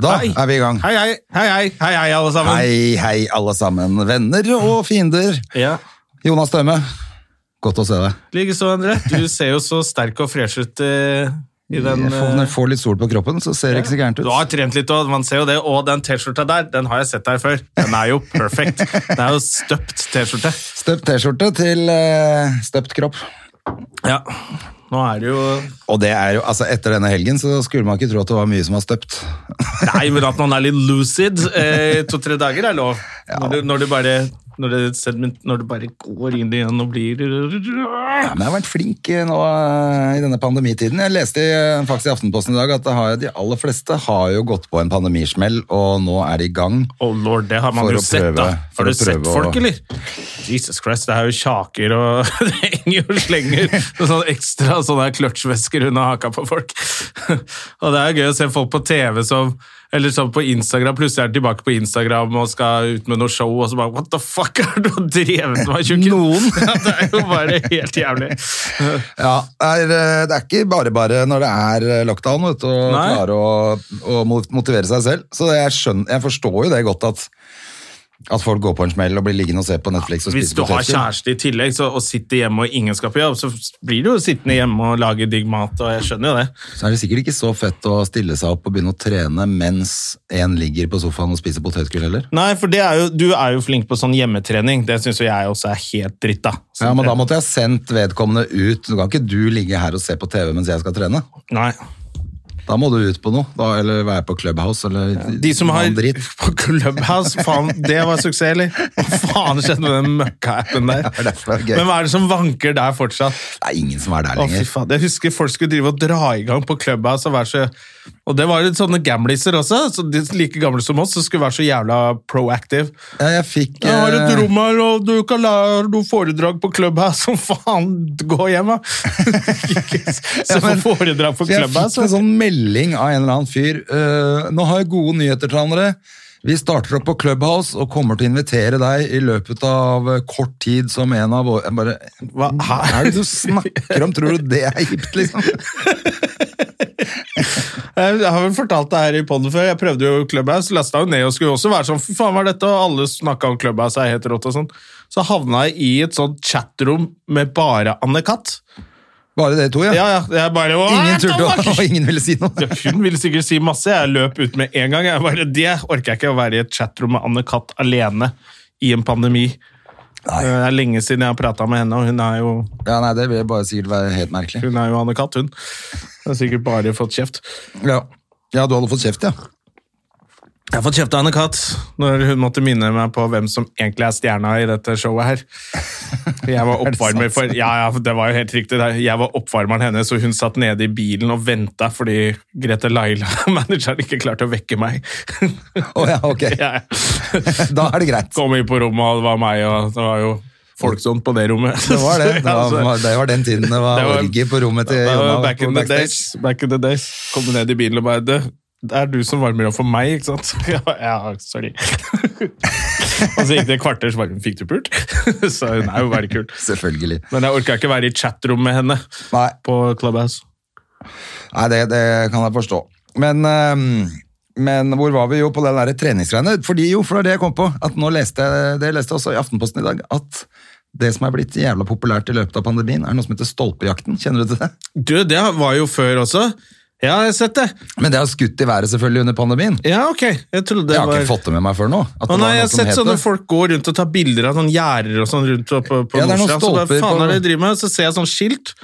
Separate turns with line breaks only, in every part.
Da
Hei.
er vi i gang.
Hei, hei, hei, hei, hei, hei alle sammen.
Hei, hei, alle sammen. Venner og fiender.
Ja.
Jonas Døme, godt å se deg.
Likeså, André. Du ser jo så sterk og fresh ut eh, i den
Jeg får,
eh,
når jeg får litt sol på kroppen, så ser det ikke så gærent ut.
Du har trent litt, og man ser jo det. Og den T-skjorta der, den har jeg sett deg før. Den er jo perfect. Den er jo støpt T-skjorte.
Støpt T-skjorte til eh, støpt kropp.
Ja. Nå er det jo
Og det er jo, altså etter denne helgen så skulle man ikke tro at det var mye som var støpt.
Nei, men at man er litt lucid eh, to-tre dager er lov. Når, du, når du bare når det, sediment- når du bare går inn igjen og blir
Ja, men jeg har vært flink eh, nå eh, i denne pandemitiden. Jeg leste i, eh, faktisk i Aftenposten i dag at det har, de aller fleste har jo gått på en pandemismell, og nå er de i gang.
Oh lord, det har man
For
jo
å
sett,
prøve-
da.
for
Har du
å
sett
prøve å-
folk, eller? Jesus Christ, det er jo kjaker og Det henger jo slenger og sånn ekstra sånne kløtsjvesker under haka på folk. Og det er jo gøy å se folk på TV som eller sånn på Instagram, plutselig er de tilbake på Instagram og skal ut med noe show, og så bare What the fuck har du drevet med, tjukken? Noen! Ja, det er jo bare helt jævlig.
Ja, det er, eh, det er ikke bare bare når det er eh, lockdown vet, du, å
Nei.
klare å, å mot- motivere seg selv. Så jeg, skjønner, jeg forstår jo det godt at, at folk går på en smell og blir liggende og se på Netflix og
Hvis
spise
du har
poteter.
kjæreste i tillegg så, og sitter hjemme og ingen skal på jobb, så blir du jo sittende hjemme og lage digg mat, og jeg skjønner jo det.
Så er det sikkert ikke så fett å stille seg opp og begynne å trene mens en ligger på sofaen og spiser potetgull heller.
Nei, for det er jo, du er jo flink på sånn hjemmetrening. Det syns jo jeg også er helt dritt, da.
Ja, men da måtte jeg ha sendt vedkommende ut. Du kan ikke du ligge her og se på TV mens jeg skal trene.
Nei.
Da må du ut på noe, da, eller være på Clubhouse, eller
De som har
annen dritt.
på Clubhouse, faen, det var suksess, eller? Hva faen skjedde med den møkka-appen der?
det er derfor det er gøy.
Men hva er det som vanker der fortsatt?
Det er ingen som er der
Å, fy
lenger.
faen. Jeg husker folk skulle drive og dra i gang på Clubhouse. Og, være så, og det var litt sånne gamliser også, så de like gamle som oss, som skulle være så jævla proactive.
Ja, jeg fikk...
Jeg har et
eh,
rom her, og du kan lære noe foredrag på Clubhouse. Som faen, gå hjem, da! Ikke Se på
men-
foredrag på
For jeg fikk
Clubhouse.
en sånn melding av en eller annen fyr. eh, nå har jeg gode nyheter til andre. Vi starter opp på Clubhouse og kommer til å invitere deg i løpet av eh, kort tid som en av våre Jeg bare,
Hva
Hva er det du snakker om? Tror du det er hipt, liksom?
Jeg har vel fortalt det her i podden før. Jeg prøvde jo Clubhouse, lasta jo ned og skulle også være sånn Fy faen, hva er dette? Og alle snakka om Clubhouse, er helt rått og sånn. Så havna jeg i et sånt chatrom med bare Anne-Kat.
Bare dere to, ja?
Ja, ja. Jeg bare What
Ingen
the
turte, å-
fuck?
og ingen ville si noe.
Hun ville sikkert si masse. Jeg løp ut med en gang. Jeg bare, Det orker jeg ikke å være i et chatrom med Anne-Kat. alene i en pandemi. Eh, Det er lenge siden jeg har prata med henne, og hun er jo,
Ja, nei, Det vil bare sikkert være helt merkelig.
hun er jo Anne-Kat., hun. Hun har sikkert bare fått kjeft.
Ja, ja du hadde fått kjeft, ja.
Jeg har fått kjeft av Anne-Kat. når hun måtte minne meg på hvem som egentlig er stjerna i dette showet her. Jeg var oppvarmer for, ja, ja, det var jo helt riktig. det. Jeg var oppvarmeren hennes, og hun satt nede i bilen og venta fordi Grete Laila, manageren, ikke klarte å vekke meg.
Å ja, ok.
Jeg
Da er det greit.
kom inn på rommet, og det var meg, og det var jo folksomt på det rommet.
Det var det. Det var, det var den tiden det var
altså. Det var-
orgie på rommet til
Det var
Jonna.
back
på
in the
backstage.
days. Back in the days. Kom ned i bilen og bare «Du, Det er du som varmer opp for meg, ikke sant? Ja, ja sorry. og så gikk det et kvarter, så bare Fikk du pult? så hun er jo bare kul.
Selvfølgelig.
Men jeg orka ikke være i chatrom med henne
Nei.
på Clubhouse.
Nei, det, det kan jeg forstå. Men, ehm, men hvor var vi jo på den der treningsgreiene? Fordi jo, for det var det jeg kom på, at nå leste jeg, det leste jeg også i Aftenposten i dag, at det som er blitt jævla populært i løpet av pandemien, er noe som heter stolpejakten. Kjenner du til det?
Du, det var jo før også. Ja, jeg har sett det.
Men det har skutt i været selvfølgelig under pandemien.
Ja, ok. Jeg trodde det
jeg har
var
ikke fått det med meg før nå. at
Å
det var
nei,
noe
jeg har
som
sett
het
sånne
det.
folk gå rundt og ta bilder av sånne gjerder og sånn rundt på, på
Ja, det er noen
Nordstrand. Så bare,
stolper
faen
på-
er det de driver med? Så ser jeg sånn skilt,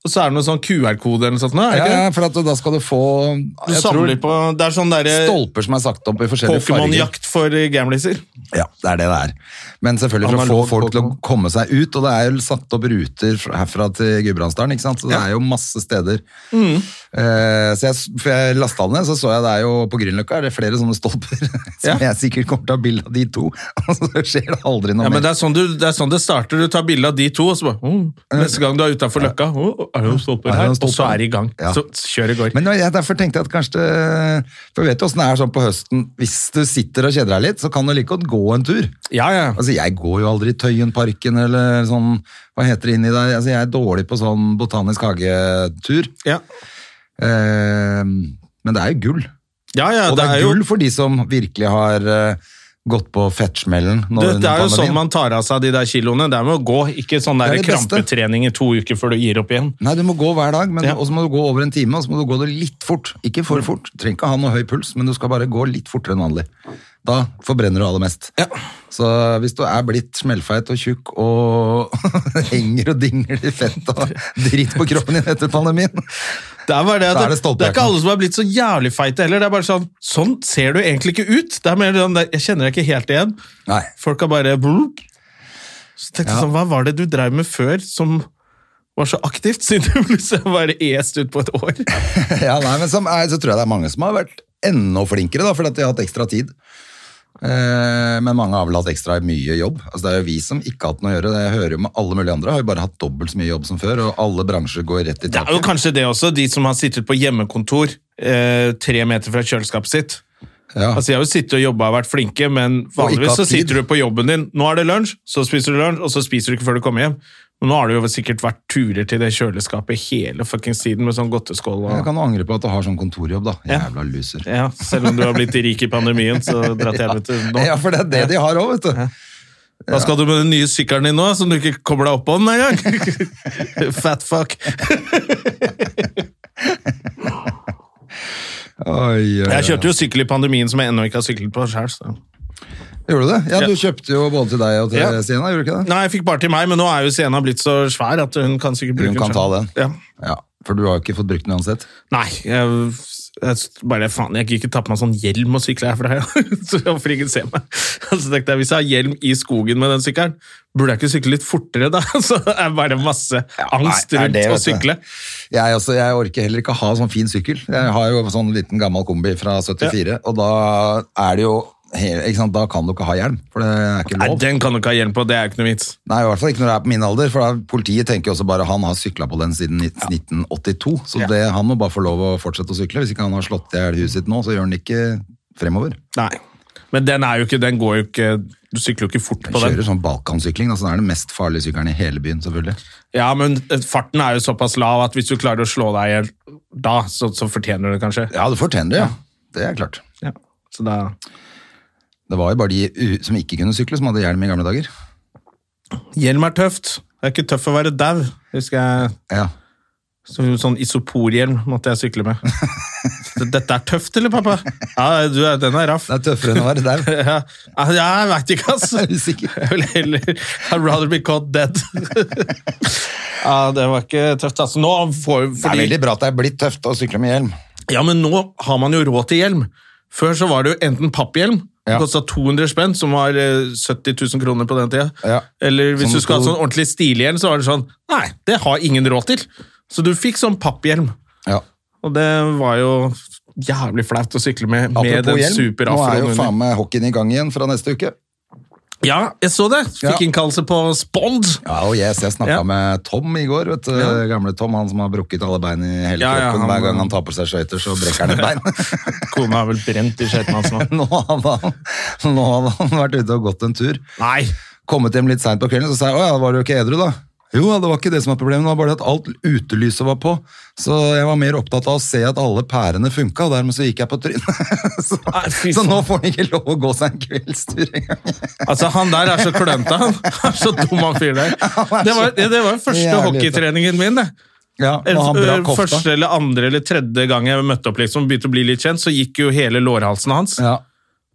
og så er det noe sånn QR-kode eller noe sånt. nå, Er det
Ja,
ikke det?
ja, for at da skal du få
Du
jeg tror,
samler på Det er sånn derre
stolper som er sagt opp i forskjellige farger.
Pokémon-jakt for eh, gamliser.
Ja, det er det det er. Men selvfølgelig for å
Analog
få folk til å
Pokémon.
komme seg ut, og det er jo satt opp ruter fra- herfra til Gudbrandsdalen, ikke sant? Så det
Ja. Mm.
er jo masse steder Eh, så jeg, s- for jeg lasta den ned, så så jeg det er jo på Grünerløkka er det flere sånne stolper. Som jeg sikkert kommer til å ha bilde av de to. Og så skjer det aldri noe
Ja, men
mer.
det er, sånn du, det er sånn det starter. Du tar bilde av de to, og så bare «Åh, Neste gang du er utafor løkka, «Åh, er det noen stolper
Er det
her?
noen
Og så
stolper?
er det i gang.
Ja.
Så kjøret går.
Men jeg, derfor tenkte jeg at kanskje det- For jeg vet jo åssen det er sånn på høsten. Hvis du sitter og kjeder deg litt, så kan du like godt gå en tur.
Ja, ja.
Altså, jeg går jo aldri i Tøyenparken eller sånn Hva heter det inni der? Altså, jeg er dårlig på sånn botanisk hagetur.
Ja,
Eh, men det er jo gull.
ja, ja
Og
det er jo
gull for de som virkelig har eh, gått på fettsmellen. nå
du,
under
det er jo sånn
pandemien.
man tar av seg de der kiloene. Det er med å gå, ikke sånn der
Det er det beste.
krampetrening i to uker før du gir opp igjen.
Nei, du må gå hver dag, men
Ja.
og så må du gå over en time, og så må du gå det litt fort. Ikke for fort. Du trenger ikke ha noe høy puls, men du skal bare gå litt fortere enn vanlig. Da forbrenner du aller mest. Så hvis du er blitt smellfeit og tjukk og henger og dingler i fett og dritt på kroppen din etter pandemien,
Det er, bare det, at
Da er det
det, det er ikke
stolpejakken.
alle som har blitt så jævlig feite heller. Det er bare Sånn sånn ser du egentlig ikke ut. Det er mer den der, Jeg kjenner deg ikke helt igjen.
Nei.
Folk har bare blup. Så tenkte jeg
Ja.
sånn, Hva var det du drev med før som var så aktivt, siden du plutselig bare est ut på et år?
Ja, nei, men som er, så tror jeg det er mange som har vært enda flinkere, da, fordi at de har hatt ekstra tid. Eh, men mange har vel hatt ekstra mye jobb. Altså, det er jo vi som ikke har hatt noe å gjøre. Det jeg hører jo med alle mulige andre, har jo bare hatt dobbelt så mye jobb som før, og alle bransjer går rett i
Det er jo
taket.
kanskje det også, de som har sittet på hjemmekontor eh, tre meter fra kjøleskapet sitt.
Ja.
Altså, jeg har jo sittet og jobba og vært flinke, men vanligvis
hatt
så
tid.
sitter du på jobben din. Nå er det lunsj, så spiser du lunsj, og så spiser du ikke før du kommer hjem. Men nå har det jo sikkert vært turer til det kjøleskapet hele fuckings tiden med sånn godteskål
Jeg
og
kan jo angre på at du har sånn kontorjobb, da.
Ja.
Jævla loser.
ja, Selv om du har blitt rik i pandemien, så dra til helvete nå.
Ja, for det er det de har òg, vet du.
Hva skal du med den nye sykkelen din nå, som du ikke kommer deg opp på den engang? Fat fuck.
Oi, oi,
Jeg
oi.
kjøpte jo sykkel i pandemien som jeg ennå ikke har syklet på sjøl. så-
Gjorde du det? Ja,
Ja.
du kjøpte jo både til deg og til
Ja.
Sina, gjorde du ikke det?
Nei, jeg fikk bare til meg, men nå er jo Sienna blitt så svær at hun kan sikkert bruke
Hun kan ta
selv.
den.
Ja.
Ja, For du har jo ikke fått brukt den uansett.
Nei, jeg, jeg bare faen, jeg gikk ikke ta på meg sånn hjelm og sykle herfra, ja. så jeg får ingen se meg. Altså, tenkte jeg, hvis jeg har hjelm i skogen med den sykkelen, burde jeg ikke sykle litt fortere da? Så det er bare masse angst
nei,
rundt
det er det,
å
vet du.
sykle.
Jeg, også, jeg orker heller ikke ha sånn fin sykkel. Jeg har jo sånn liten gammel kombi fra 74, og da er det jo he- ikke sant? Da kan du ikke ha hjelm, for det er ikke
Nei,
lov.
den kan du ikke ha hjelm på, det er jo ikke noe vits.
Nei, i hvert fall ikke når det er på min alder, for da, politiet tenker jo også bare han har sykla på den siden 19- 1982, så
Ja.
det, han må bare få lov å fortsette å sykle. Hvis ikke han har slått i hjel huset sitt nå, så gjør han det ikke fremover.
Nei, men den er jo ikke, den går jo ikke, du sykler jo ikke fort på
Han
den.
kjører sånn balkansykling, altså det er den mest farlige sykkelen i hele byen, selvfølgelig.
Ja, men eh, farten er jo såpass lav at hvis du klarer å slå deg ihjel da, så, så fortjener du det kanskje.
Ja, du fortjener det, ja. Det er klart.
Ja. Så da...
Det var jo bare de u- som ikke kunne sykle, som hadde hjelm i gamle dager.
Hjelm er tøft. Det er ikke tøft å være dau, husker jeg.
Ja.
Så, sånn isoporhjelm måtte jeg sykle med. Så, Dette er tøft, eller, pappa? Ja, du, er- den er raff.
Det er tøffere enn å være dau.
Ja, ja, jeg veit ikke, ass.
Er du sikker?
Jeg vil heller I'd rather be caught dead. Ja, det var ikke tøft, ass. Nå får,
Det er
fordi,
veldig bra at det er blitt tøft å sykle med hjelm.
ja, men nå har man jo råd til hjelm. Før så var det jo enten papphjelm,
Ja.
det kosta 200 spenn, som var eh, 70 000 kroner på den tida.
Ja.
Eller hvis
Som
du skulle hatt
to-
sånn ordentlig stilhjelm, så var det sånn Nei, det har ingen råd til. Så du fikk sånn papphjelm.
Ja.
Og det var jo jævlig flaut å sykle med, med
Apropos
den
hjelm, nå er
superafroen
jo
under.
faen meg hockeyen i gang igjen fra neste uke.
Ja, jeg så det. Fikk
Ja.
innkallelse på Spond.
Ja, og yes, Jeg snakka
Ja.
med Tom i går. vet du,
Ja.
Gamle Tom, han som har brukket alle bein i hele
Ja, ja,
kroppen.
han-
Hver gang han tar på seg skøyter, så brekker han et bein.
Kona har vel brent i skøytene hans nå.
nå, hadde han, nå hadde han vært ute og gått en tur.
Nei!
Kommet hjem litt seint på kvelden, så sa jeg å ja, var du ikke edru, da? Jo, ja, det var ikke det som var problemet, det var bare at alt utelyset var på. Så jeg var mer opptatt av å se at alle pærene funka, og dermed så gikk jeg på trynet. så,
Nei, fy
så
faen.
nå får han ikke lov å gå seg en kveldstur engang.
Altså, han der er så klønete, han. Han er så dum, han fyren der.
Han er
Det var,
så-
det det var første
Jævlig
hockeytreningen min, det.
Ja, og han brakk
Eh,
hofta.
Første eller andre eller tredje gang jeg møtte opp, liksom, begynte å bli litt kjent, så gikk jo hele lårhalsen hans.
Ja.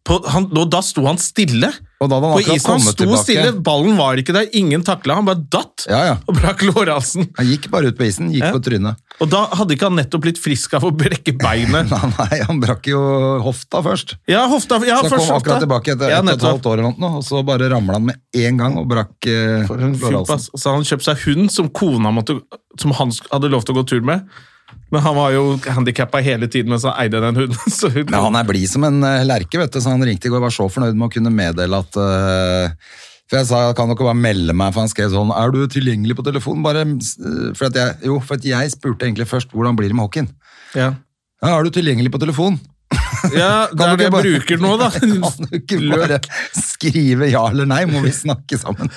På, han, og da sto han stille.
Og da hadde han
på
akkurat
isen, han
kommet
sto
tilbake.
stille, ballen var ikke der, ingen takla, han bare datt
Ja, ja.
og brakk lårhalsen.
Han gikk bare ut på isen, gikk
Ja.
på trynet.
Og da hadde ikke han nettopp blitt frisk av å brekke beinet.
Nei, nei, han brakk jo hofta først.
Ja, hofta, ja,
Så han
først
kom akkurat
hofta.
tilbake etter
Ja,
et og et
nettopp.
halvt år, eller noe, og så bare ramla han med en gang og brakk eh,
For en fjomp,
lårhalsen.
ass. Og Så hadde han kjøpt seg hund som kona måtte, som han sk- hadde lov til å gå tur med. Men han var jo handikappa hele tiden mens han eide den hunden. Så hun,
Men han er blid som en eh, lerke, vet du, så han ringte i går og var så fornøyd med å kunne meddele at eh, For jeg sa kan dere bare melde meg, for han skrev sånn Er du tilgjengelig på telefonen? Bare, eh, for at jeg, jo, for at jeg spurte egentlig først hvordan blir det med hockeyen.
ja.
Ja, er du tilgjengelig på telefon?
ja, det
Kan
er det
du ikke
jeg
bare-
bruker nå, da.
Kan du ikke bare skrive ja eller nei? Må vi snakke sammen?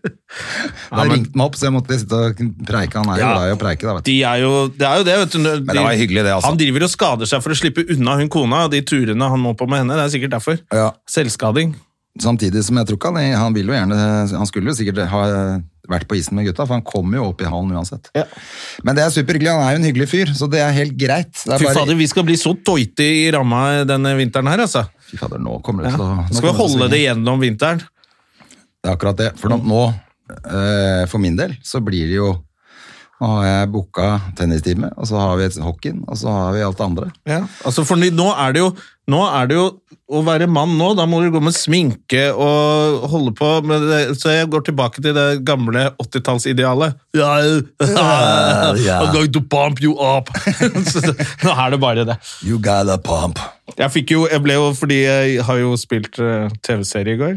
Da
men-
ringte han meg opp, så jeg måtte sitte og preike. Han er jo
Ja.
glad i å preike, da, vet du.
De er jo, det er jo det, vet du. De,
Men det var hyggelig det, altså.
Han driver og skader seg for å slippe unna hun kona og de turene han må på med henne. Det er sikkert derfor.
Ja.
Selvskading.
Samtidig som jeg tror ikke han, han vil jo gjerne Han skulle jo sikkert ha vært på isen med gutta, for han kommer jo opp i hallen uansett. Men det er superhyggelig. Han er jo en hyggelig fyr, så det er helt greit. Det er
Fy
bare-
fader, vi skal bli så doite i ramma denne vinteren her, altså.
Fy fader, nå kommer det
Ja.
til å nå
Skal vi
kommer til å
holde
svinge.
det gjennom vinteren?
Det er akkurat det. For nå, nå, eh, for min del, så blir det jo Nå har jeg booka tennistime, og så har vi et hockeyen, og så har vi alt det andre.
Ja. Altså, for nå er det jo nå er det jo å være mann nå, da må du gå med sminke og holde på med det. Så jeg går tilbake til det gamle 80-tallsidealet. Ja, ja,
ja.
I'm going to bump you up! Så nå er det bare det.
You got a pump.
Jeg fikk jo, jeg ble jo, fordi jeg har jo spilt eh, TV-serie i går.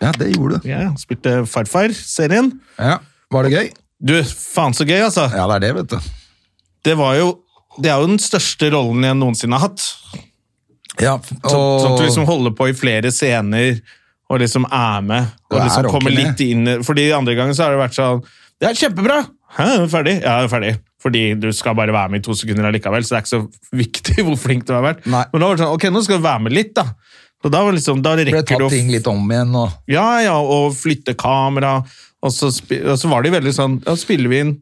Ja, det gjorde du.
Jeg spilte Farfar-serien.
Ja, Var det gøy?
Du, faen så gøy, altså.
Ja, det er det, vet du.
Det var jo, det er jo den største rollen jeg noensinne har hatt.
Ja,
Så, Sånn at
og-
du liksom holder på i flere scener og liksom er med.
Du
Og
er
liksom kommer
ordentlig.
litt inn Fordi andre ganger så har det vært sånn Det er kjempebra! Hæ, er du ferdig? Ja, jeg er ferdig. Fordi du skal bare være med i to sekunder allikevel, så det er ikke så viktig hvor flink du har vært.
Nei.
Men da var det sånn, ok, nå skal du være med litt, da. Så da, var det liksom, da
ble
rekker du
tatt
å
ting litt om igjen, og
ja, ja, og flytte kamera. Og så, spi- og så var de veldig sånn Ja, spiller vi inn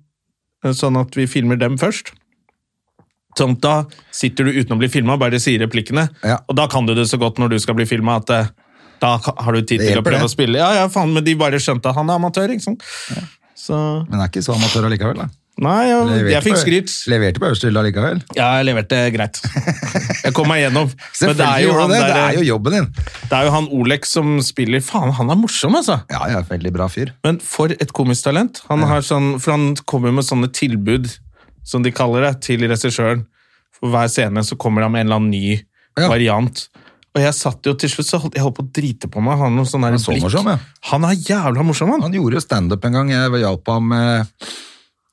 eh, sånn at vi filmer dem først? Sånn at da sitter du uten å bli filma, bare sier replikkene.
Ja.
Og da kan du det så godt når du skal bli filma, at eh, da ka- har du tid til
Det
å
hjelper,
prøve
det.
å spille. Ja, ja, faen, men de bare skjønte at han er amatør, ikke sant. Så
Men det er ikke så amatør allikevel, da.
Nei, ja, jeg
Leverte
fikk
på-
skryt.
Leverte på øverste hylle allikevel.
Ja, jeg leverte greit. Jeg kom meg gjennom. Men det er
Selvfølgelig
jo,
gjorde
han
du det. Det
der- eh,
er jo jobben din.
det er jo han Olek som spiller Faen, han er morsom, altså!
Ja, jeg er en veldig bra fyr.
Men for et komisk talent. Han, har sånn, for han kommer med sånne tilbud, som de kaller det, til regissøren. For hver scene så kommer han med en eller annen ny
Ja.
variant. Og jeg satt jo til slutt, så holdt jeg holdt på å drite på meg. Han, har noe sånn der
er så
blikk.
morsom, ja.
han er jævla morsom, han.
Han gjorde jo standup en gang. Jeg hjalp ham med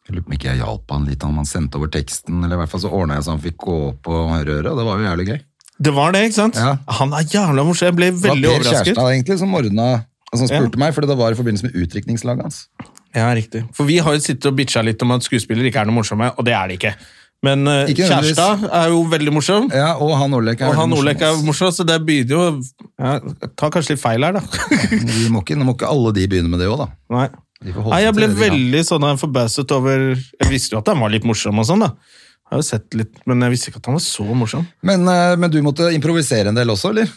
jeg lurer på om ikke jeg hjalp han litt, om han sendte over teksten, eller i hvert fall så ordna jeg så han fikk gå opp og røre, og det var jo jævlig gøy.
Det var det, ikke sant?
Ja.
Han er jævla morsom. Jeg ble
Det var
veldig
Per
overrasket.
Kjærstad egentlig som ordna og som spurte
Ja.
meg, fordi det var i forbindelse med utdrikningslaget hans.
Ja, riktig. For vi har jo sittet og bitcha litt om at skuespillere ikke er noe morsomme, og det er de ikke. Men eh,
Ikke nødvendigvis.
Kjærstad er jo veldig morsom.
Ja, og han Olek er
Og
veldig
han
morsom,
Olek er
ass.
morsom, så det begynner jo ja, Ta kanskje litt feil her, da.
Vi må ikke, nå må ikke alle de begynne med det òg, da.
Nei.
De får holde
Nei, jeg
seg
ble
til det de kan.
veldig sånn her forbauset over Jeg visste jo at han var litt morsom og sånn, da. Jeg har jo sett litt, Men jeg visste ikke at han var så morsom.
Men, eh, men du måtte improvisere en del også, eller?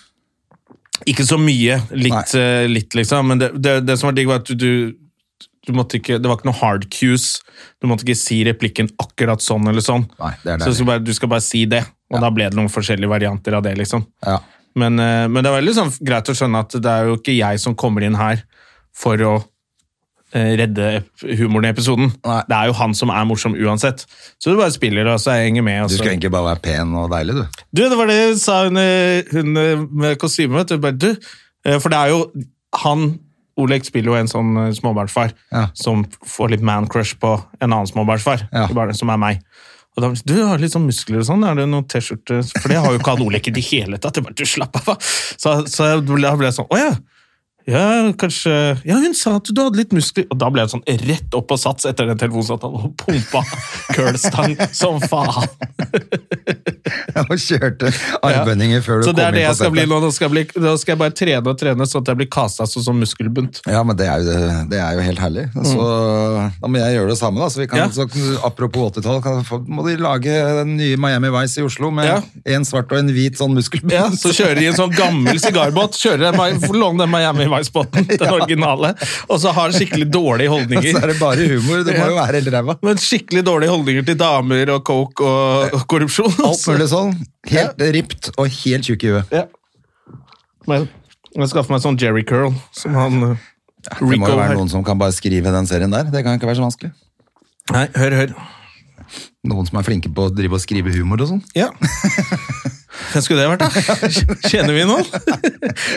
Ikke så mye. Litt, eh, litt liksom. Men det, det, det som var digg, var at du, du, du måtte ikke Det var ikke noe hard cues. Du måtte ikke si replikken akkurat sånn eller sånn.
Nei, det er
så du
deilig.
skal, bare, du skal bare si det, og da ble det noen forskjellige varianter av det, liksom.
Ja.
Men, eh, men det er veldig sånn greit å skjønne at det er jo ikke jeg som kommer inn her for å eh, redde ep- humoren i episoden.
Nei.
Det er jo han som er morsom uansett. Så du bare spiller, og så jeg henger med. Og
Du
så.
skulle egentlig bare være pen og deilig, du.
Du, det var det hun sa hun, eh, hun eh, med kostyme, vet du. Bare, du. eh, For det er jo han Olek spiller jo en sånn eh, småbarnsfar
Ja.
som får litt man-crush på en annen småbarnsfar,
Ja.
Det er bare som er meg. Og da, du har litt sånn muskler og sånn, er det noen T-skjorte For det har jo ikke hatt Olek i det hele tatt. Jeg bare, du slapp av, hva? Så, så jeg ble, jeg ble sånn, å ja. Ja, kanskje Ja, hun sa at du hadde litt muskler. Og da ble jeg sånn rett opp på sats etter den telefonsamtalen og pumpa curlstang som faen.
Og kjørte armbøndinger før du
Så
kom
det er det
inn på
jeg skal bli
settet.
nå. Nå skal jeg, bli, nå skal jeg bare trene og trene sånn at jeg blir kasta sånn som muskelbunt.
Ja, men det er jo, det er jo helt herlig. Så da må jeg gjøre det samme, da. Så vi
Mm.
kan,
Ja.
så, apropos 80-tall, kan- få- må de lage den nye Miami Vice i Oslo med
Ja.
en svart og en hvit sånn muskelbund.
Ja, så kjører de en sånn gammel sigarbåt. Kjører en, Mi- Låner den Miami Vice-båten, den originale. Og så har skikkelig dårlige
Og så er
holdninger.
det bare humor. Det må
Ja.
jo være helt ræva.
Men skikkelig dårlige holdninger til damer og coke og, og korrupsjon.
Alt mulig sånn. Helt ript og helt tjukk i huet.
Ja. Men jeg skaffer meg sånn Jerry Curl, som han eh,
Det må
Rico
jo være
her.
noen som kan bare skrive den serien der. Det kan ikke være så vanskelig.
Nei, hør, hør.
Noen som er flinke på å drive og skrive humor og sånn.
Ja. Hvem skulle det vært, da? Kjenner vi noen?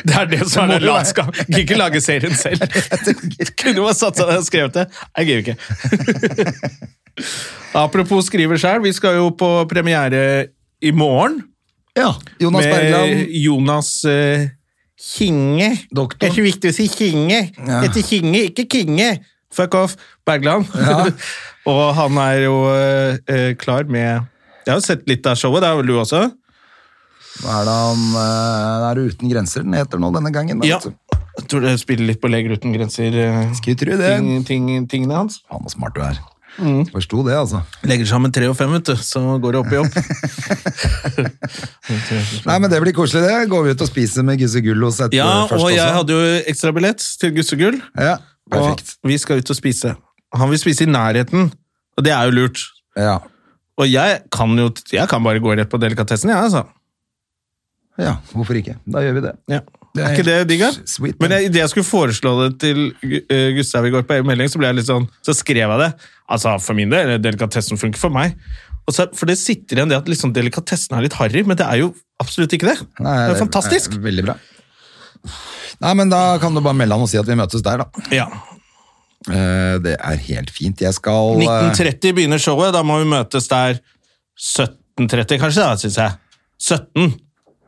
Det er det som er det latskap. Kan ikke lage serien selv. Kunne bare satsa det og skrevet det. Jeg gidder ikke. Apropos skrive sjøl, vi skal jo på premiere i morgen
Ja, Jonas
med
Bergland.
Jonas eh, Kinge.
Doktor.
Det er så viktig å si Kinge.
Ja.
Dette er Kinge, ikke Kinge. Fuck off, Bergland. og han er jo eh, eh, klar med Jeg har jo sett litt av showet, det har vel du også?
Hva er det han eh, Det er Uten grenser den heter nå denne gangen. da,
Ja.
vet du.
Jeg tror det spiller litt på Leger uten grenser. eh,
Skulle tro det.
Ting, ting, tingene hans.
Faen, så smart du er.
Mm.
Forsto det, altså.
Legger sammen tre og fem, vet du, så går det opp i opp.
Nei, men Det blir koselig, det. Går vi ut og spiser med Gusse Gullos etter
Ja,
først
og jeg
også.
hadde jo ekstrabillett til Gussegull.
Ja, perfekt.
Og vi skal ut og spise. Han vil spise i nærheten, og det er jo lurt.
Ja.
Og jeg kan jo jeg kan bare gå rett på delikatessen, jeg, altså.
ja, hvorfor ikke? Da gjør vi det.
Ja.
Det er
er ikke det digg, da?
helt sweet,
Men
men-
idet jeg skulle foreslå det til Gu- eh, Gustav i går på e-melding, så ble jeg litt sånn, så skrev jeg det. Altså, for min del, delikatessen funker for meg. Og så, for det sitter igjen det at liksom delikatessen er litt harry, men det er jo absolutt ikke det.
Nei,
det er fantastisk.
er veldig bra. Nei, men Da kan du bare melde han og si at vi møtes der, da.
Ja.
Eh, Det er helt fint. Jeg skal eh,
19.30 begynner showet, da må vi møtes der 17.30 kanskje, da, synes jeg. 17.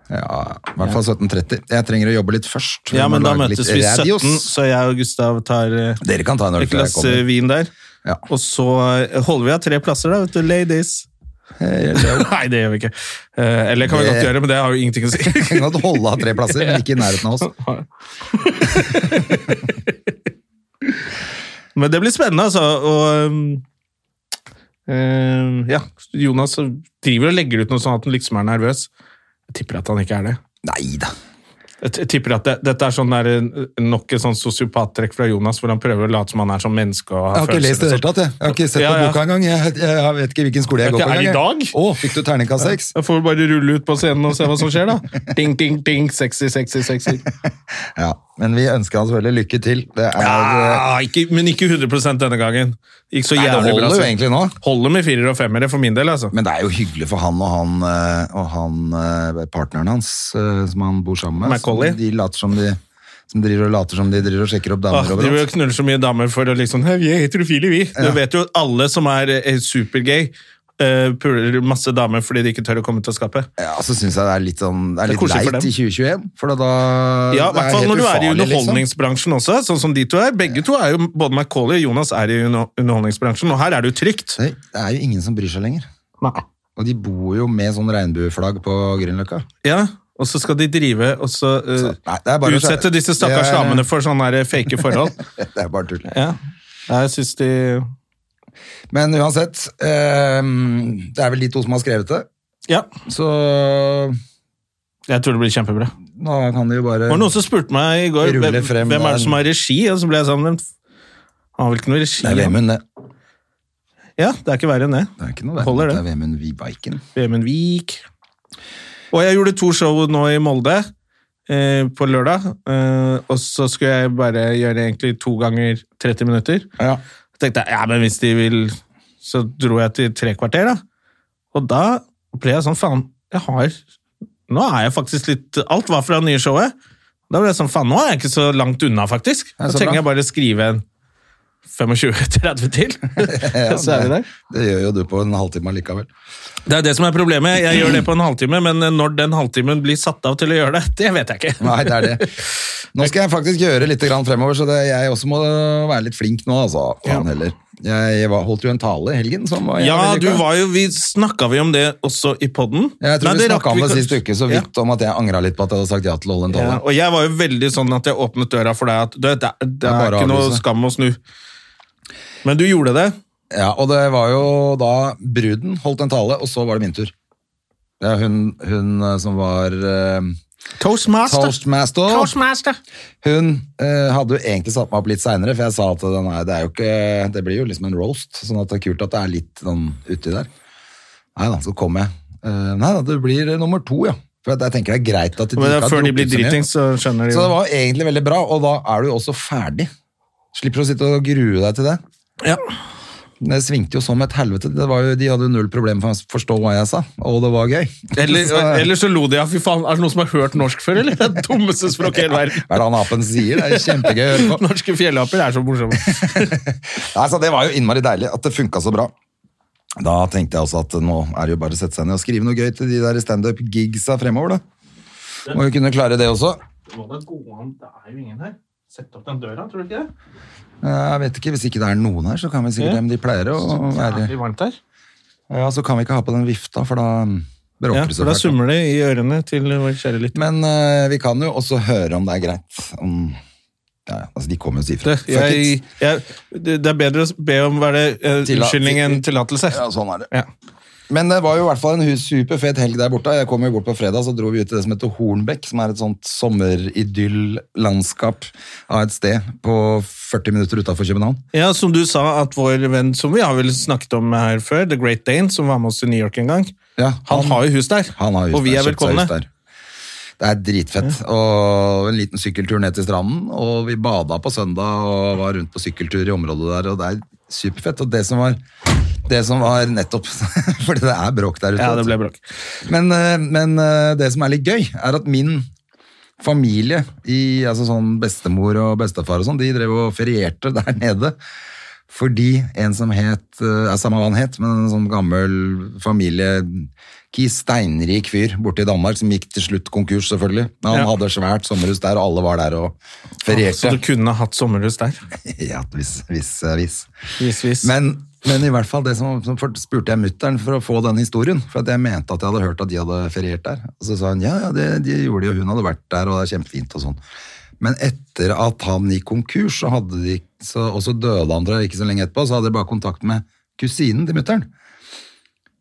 Ja, i hvert fall 17.30. Jeg trenger å jobbe litt først.
Ja,
Vi må
men da
lage
møtes
litt
vi
radios.
17, så jeg og Gustav tar eh,
Dere kan ta en øl
et
før jeg
glass eh,
kommer.
vin der.
Ja.
Og så eh, holder vi av tre plasser, da, vet du, ladies. Nei, det gjør vi ikke. Eh, Eller kan vi
Det-
godt gjøre, men det har jo ingenting å si.
Vi kan godt holde av tre plasser, men ikke i nærheten av oss.
Men det blir spennende, altså. Og um, eh, ja, Jonas driver og legger ut noe sånn at han liksom er nervøs. Jeg tipper at han ikke er det.
Nei da.
Jeg t- tipper at det, Dette er sånn der, eh, nok et sånn sosiopattrekk fra Jonas, hvor han prøver å late som han er som menneske. og
Jeg
har
har ikke lest det i det
følelser.
hele tatt. Jeg Jeg har ikke sett
Ja, ja.
på boka engang. Jeg, jeg, jeg vet ikke hvilken skole jeg
Vet
går
du,
på
er det i
engang, jeg.
dag?
Å, fikk du terningkast seks?
Da får vi bare rulle ut på scenen og se hva som skjer, da. Ding, ding, ding, sexy, sexy, sexy.
Ja. Men vi ønsker han selvfølgelig lykke til. Det er eh,
Ja, Ah, ikke, men ikke 100 denne gangen. Gikk så
Nei, det
jævlig bra.
holder jo
så-
egentlig nå.
Holder med firer og femmere for min del, altså.
Men det er jo hyggelig for han og han, eh, og han eh, partneren hans eh, som han bor sammen med.
Macaulay.
som De later som de som driver og later som de driver og sjekker opp
Ah,
damer
de vil
overalt.
knulle så mye damer for å liksom «Hei, Vi er heterofile, vi. Du vet jo at alle som er, eh, supergay, eh, puler masse damer fordi de ikke tør å komme ut av skapet.
Ja, så syns jeg det er litt sånn Det er
Det er
litt
koselig for dem.
leit i 2021, for da- da
Ja, i
det
hvert fall
helt
når du er i
ufarlig, liksom.
underholdningsbransjen også, sånn som de to er. Begge to er jo, både Macaulay og Jonas er i under- underholdningsbransjen, og her er det jo trygt.
Det det er jo ingen som bryr seg lenger. Og de bor jo med sånn regnbueflagg på Grünerløkka.
Ja, og så skal de drive og så, eh,
Nei, det er bare å
utsette
skjø-
disse stakkars
Det er-
damene for sånne her fake forhold.
Det er bare tull.
Ja, jeg synes de...
Men uansett, ehm, det er vel de to som har skrevet det,
Ja,
så
jeg tror det blir kjempebra. Det
nå kan de jo bare
var noen som spurte meg i går,
Rulle
hvem,
frem
hvem er
der.
det som har regi? Og så ble jeg sånn, "Men f- han har vel ikke noe regi?
Det er Vemund, det.
Ja, det er ikke verre enn det.
Det er ikke noe
Holder
verre.
det.
Det er Vemund Vibaiken.
Vemund Vik. Og jeg gjorde to show nå i Molde eh, på lørdag, eh, og så skulle jeg bare gjøre egentlig to ganger 30 minutter.
Ja.
Så tenkte jeg, ja, men hvis de vil, så dro jeg til tre kvarter da. Og da ble jeg sånn, faen, jeg har, nå er jeg faktisk litt, alt var fra det nye showet. Da ble jeg sånn, faen, nå er jeg ikke så langt unna faktisk.
Ja,
Da
så bra.
trenger jeg bare skrive en 25-30 til, så er vi der.
Det gjør jo du på en halvtime allikevel.
Det er det som er problemet. Jeg gjør det på en halvtime, men når den halvtimen blir satt av til å gjøre det, det vet jeg ikke.
Nei, det er det. Nå skal jeg faktisk gjøre litt grann fremover, så det, jeg også må være litt flink nå, altså. Faen heller. Jeg var, holdt jo en tale i helgen som var
Ja,
jævlig
du
vellykka.
var jo, vi snakka vi om det også i poden.
Jeg tror vi snakka om det sist uke, så vidt om at jeg angra litt på at jeg hadde sagt ja til å holde en tale.
Ja, og jeg var jo veldig sånn at jeg åpnet døra for deg at du, vet, det, er- det
er
er
bare å
ikke noe
avlyse.
skam å snu. Men du gjorde det.
Ja, og det var jo da bruden holdt en tale, og så var det min tur. Ja, hun, hun eh, som var eh,
Toastmaster.
toastmaster,
Toastmaster.
hun eh, hadde jo egentlig satt meg opp litt seinere, for jeg sa at den er, det, er jo ikke, det blir jo liksom en roast, sånn at det er kult at det er litt sånn uti der. Nei da, så kom jeg. Eh, nei da, det blir nummer to, ja. For jeg tenker det er greit at de
Men det
ikke
er
har
før de blir
drukket så mye.
dritings, så skjønner de
Så det var jo egentlig veldig bra, og da er du jo også ferdig. Slipper å sitte og grue deg til det.
Ja.
Det svingte jo som et helvete. Det var jo, de hadde jo null problem for å forstå hva jeg sa, og det var gøy.
Eller,
Så-
eller så lo de av fy faen, er det noen som har hørt norsk før, eller? Det er det dummeste språket i hele verden.
Hva er det han apen sier? Det er kjempegøy å høre på.
Norske fjellaper er så morsomme.
Nei, så det var jo innmari deilig at det funka så bra. Da tenkte jeg også at nå er det jo bare å sette seg ned og skrive noe gøy til de der standup-gigsa fremover, da. Må jo kunne klare det også.
Må da gå an, det er jo ingen her. Sett opp den døra, tror du ikke det?
Jeg vet ikke, Hvis ikke det er noen her, så kan vi sikkert
Ja.
dem de pleier å være.
Jævlig varmt her.
Ja, Så kan vi ikke ha på den vifta, for da mm, bråker
Ja,
det
for
så
da
fælt.
summer det i ørene til vår kjære lytter.
Men eh, vi kan jo også høre om det er greit. Om, ja, ja, altså, de kommer jo og sier fra. Fuck
Jeg,
it.
jeg, det det er bedre å be om hva er det, eh,
Tilla-
unnskyldning enn tillatelse.
Ja, sånn er det.
Ja.
Men det var jo i hvert fall en hus- superfet helg der borte. Jeg kom jo bort på fredag, så dro vi ut til det som heter Hornbekk, som er et sånt sommeridyll-landskap av et sted på 40 minutter utafor København.
Ja, som du sa, at vår venn som vi har vel snakket om her før, The Great Dane, som var med oss til New York en gang,
Ja,
han, har jo hus der.
han har hus
og vi
der,
er
kjøpt seg
velkomne.
hus der. Det er dritfett. Og en liten sykkeltur ned til stranden, og vi bada på søndag og var rundt på sykkeltur i området der, og det er superfett. Og det som var, det som var nettopp Fordi det er bråk der ute.
Ja,
vet
det
du.
ble bråk.
Men, eh, men eh, det som er litt gøy, er at min familie, i, altså sånn bestemor og bestefar og sånn, de drev og ferierte der nede. Fordi en som het, eh, er samme hva han het, men en sånn gammel familie, ki steinrik fyr borte i Danmark, som gikk til slutt konkurs selvfølgelig. Men han
Ja.
hadde svært sommerhus der, og alle var der og
Så
ferierte.
du kunne hatt sommerhus der.
Ja, hvis, hvis, eh, hvis.
Vis, vis.
Men, men i hvert fall det som, som for, spurte jeg mutteren for å få den historien, for at jeg mente at jeg hadde hørt at de hadde feriert der. Og så sa hun ja, ja, det de gjorde de, og hun hadde vært der, og det er kjempefint og sånn. Men etter at han gikk konkurs, så hadde de, så, og så døde han tror jeg, ikke så lenge etterpå, så hadde de bare kontakt med kusinen til mutteren.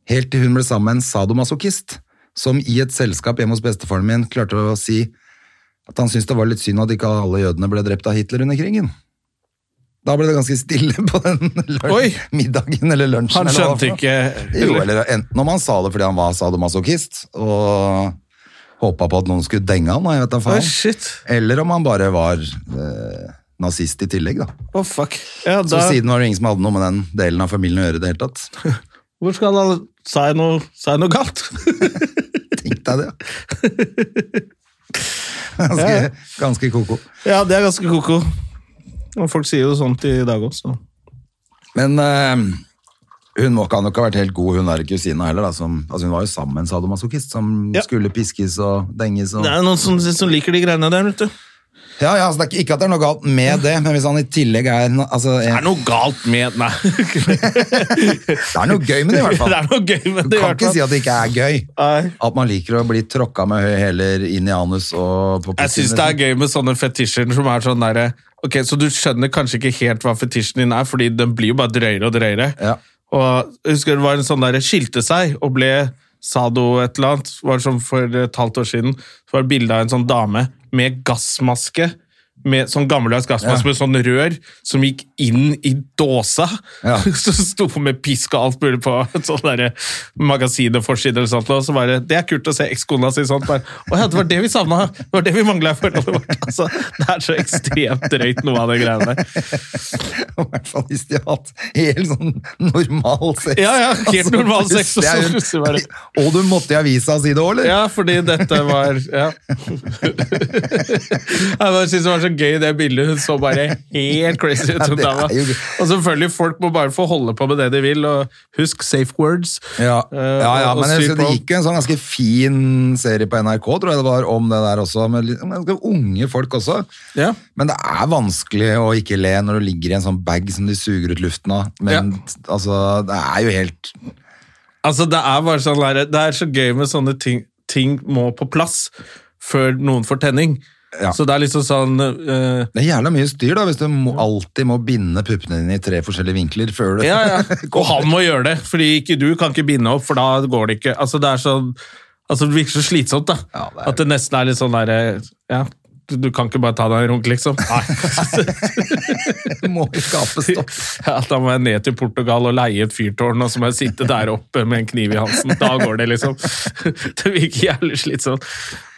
Helt til hun ble sammen med en sadomasochist, som i et selskap hjemme hos bestefaren min klarte å si at han syntes det var litt synd at ikke alle jødene ble drept av Hitler under krigen. Da ble det ganske stille på den lø-
Oi!
middagen eller
han
lunsjen. eller hva det
skjønte
var.
ikke
Jo,
eller?
eller enten om han sa det fordi han var sadomasochist og håpa på at noen skulle denge han, og jeg vet da
Å,
faen.
shit.
Eller om han bare var eh, nazist i tillegg, da.
Å, fuck. Ja,
Så
da,
siden var det ingen som hadde noe med den delen av familien å gjøre i det hele tatt.
hvor skal alle Sa jeg noe, sa jeg noe galt?
Tenk deg det. Ganske, ganske koko.
ja, det er ganske koko. Og folk sier jo sånt i dag også.
Men eh, hun må, kan nok ha vært helt god, hun der kusina heller. Da, som, altså, hun var jo sammen med en sadomasochist som
Ja.
skulle piskes og denges. Og...
Det er noen som, som liker de greiene der, vet du.
Ja, ja, altså, det er ikke, ikke at det er noe galt med det, men hvis han i tillegg er no- altså,
Det
en,
er noe galt med Nei.
Det er noe gøy med det, i hvert fall.
Det er noe gøy med
Du
det, i
kan
hvert
ikke
fall.
si at det ikke er gøy.
Nei.
At man liker å bli tråkka med høye hæler inn i anus og på liksom.
Jeg syns det er gøy med sånne fetisjer som er sånn derre Ok, så du skjønner kanskje ikke helt hva fetisjen din er, fordi den blir jo bare drøyere og drøyere.
Ja.
Og jeg husker det var en sånn derre skilte seg og ble sado et eller annet. Det var sånn for et halvt år siden. Så var det bilde av en sånn dame med gassmaske. Med sånn gammeldags gassmaske med sånn rør som gikk inn i dåsa.
Ja.
Så sto hun med pisk og alt mulig på et sånn derre magasin og forside eller sånt. Og så bare Det er kult å se ekskona si sånt. Bare, Å ja, det var det vi savna! Det var det vi mangla i forholdet vårt! Altså, det er så ekstremt drøyt, noe av det greiene der.
I hvert fall hvis de har hatt helt sånn normal sex. Altså,
Ja, ja, helt normal sex, og
plutselig er
så
hun-
plutselig bare-
Og du måtte i avisa si det òg, eller?
Ja, fordi dette var ja. Jeg bare synes det var så gøy det bildet. Hun så bare helt crazy ut.
Ja,
som
det er
dama.
jo gøy.
Og selvfølgelig, folk må bare få holde på med det de vil, og husk safe words.
Ja,
Eh,
ja, ja
og- og
men jeg
styr
husker det
på.
gikk jo en sånn ganske fin serie på NRK, tror jeg det var, om det der også, med litt- med ganske unge folk også.
Ja.
Men det er vanskelig å ikke le når du ligger i en sånn bag som de suger ut luften av. Men altså, det er jo helt
Altså, det er bare sånn der, Det er så gøy med sånne ting Ting må på plass før noen får tenning.
Ja.
Så det er liksom sånn eh,
Det er jævla mye styr da, hvis du må, alltid må binde puppene dine i tre forskjellige vinkler før du
Ja, ja. Og han må gjøre det, fordi ikke du kan ikke binde opp, for da går det ikke. Altså, det er sånn Altså, det virker så slitsomt, da.
Ja, det er
At det nesten er litt sånn derre Ja, du, du kan ikke bare ta deg en runk, liksom. Nei.
må jo skape stopp.
ja, da må jeg ned til Portugal og leie et fyrtårn, og så må jeg sitte der oppe med en kniv i halsen. Da går det, liksom. Det virker jævlig slitsomt.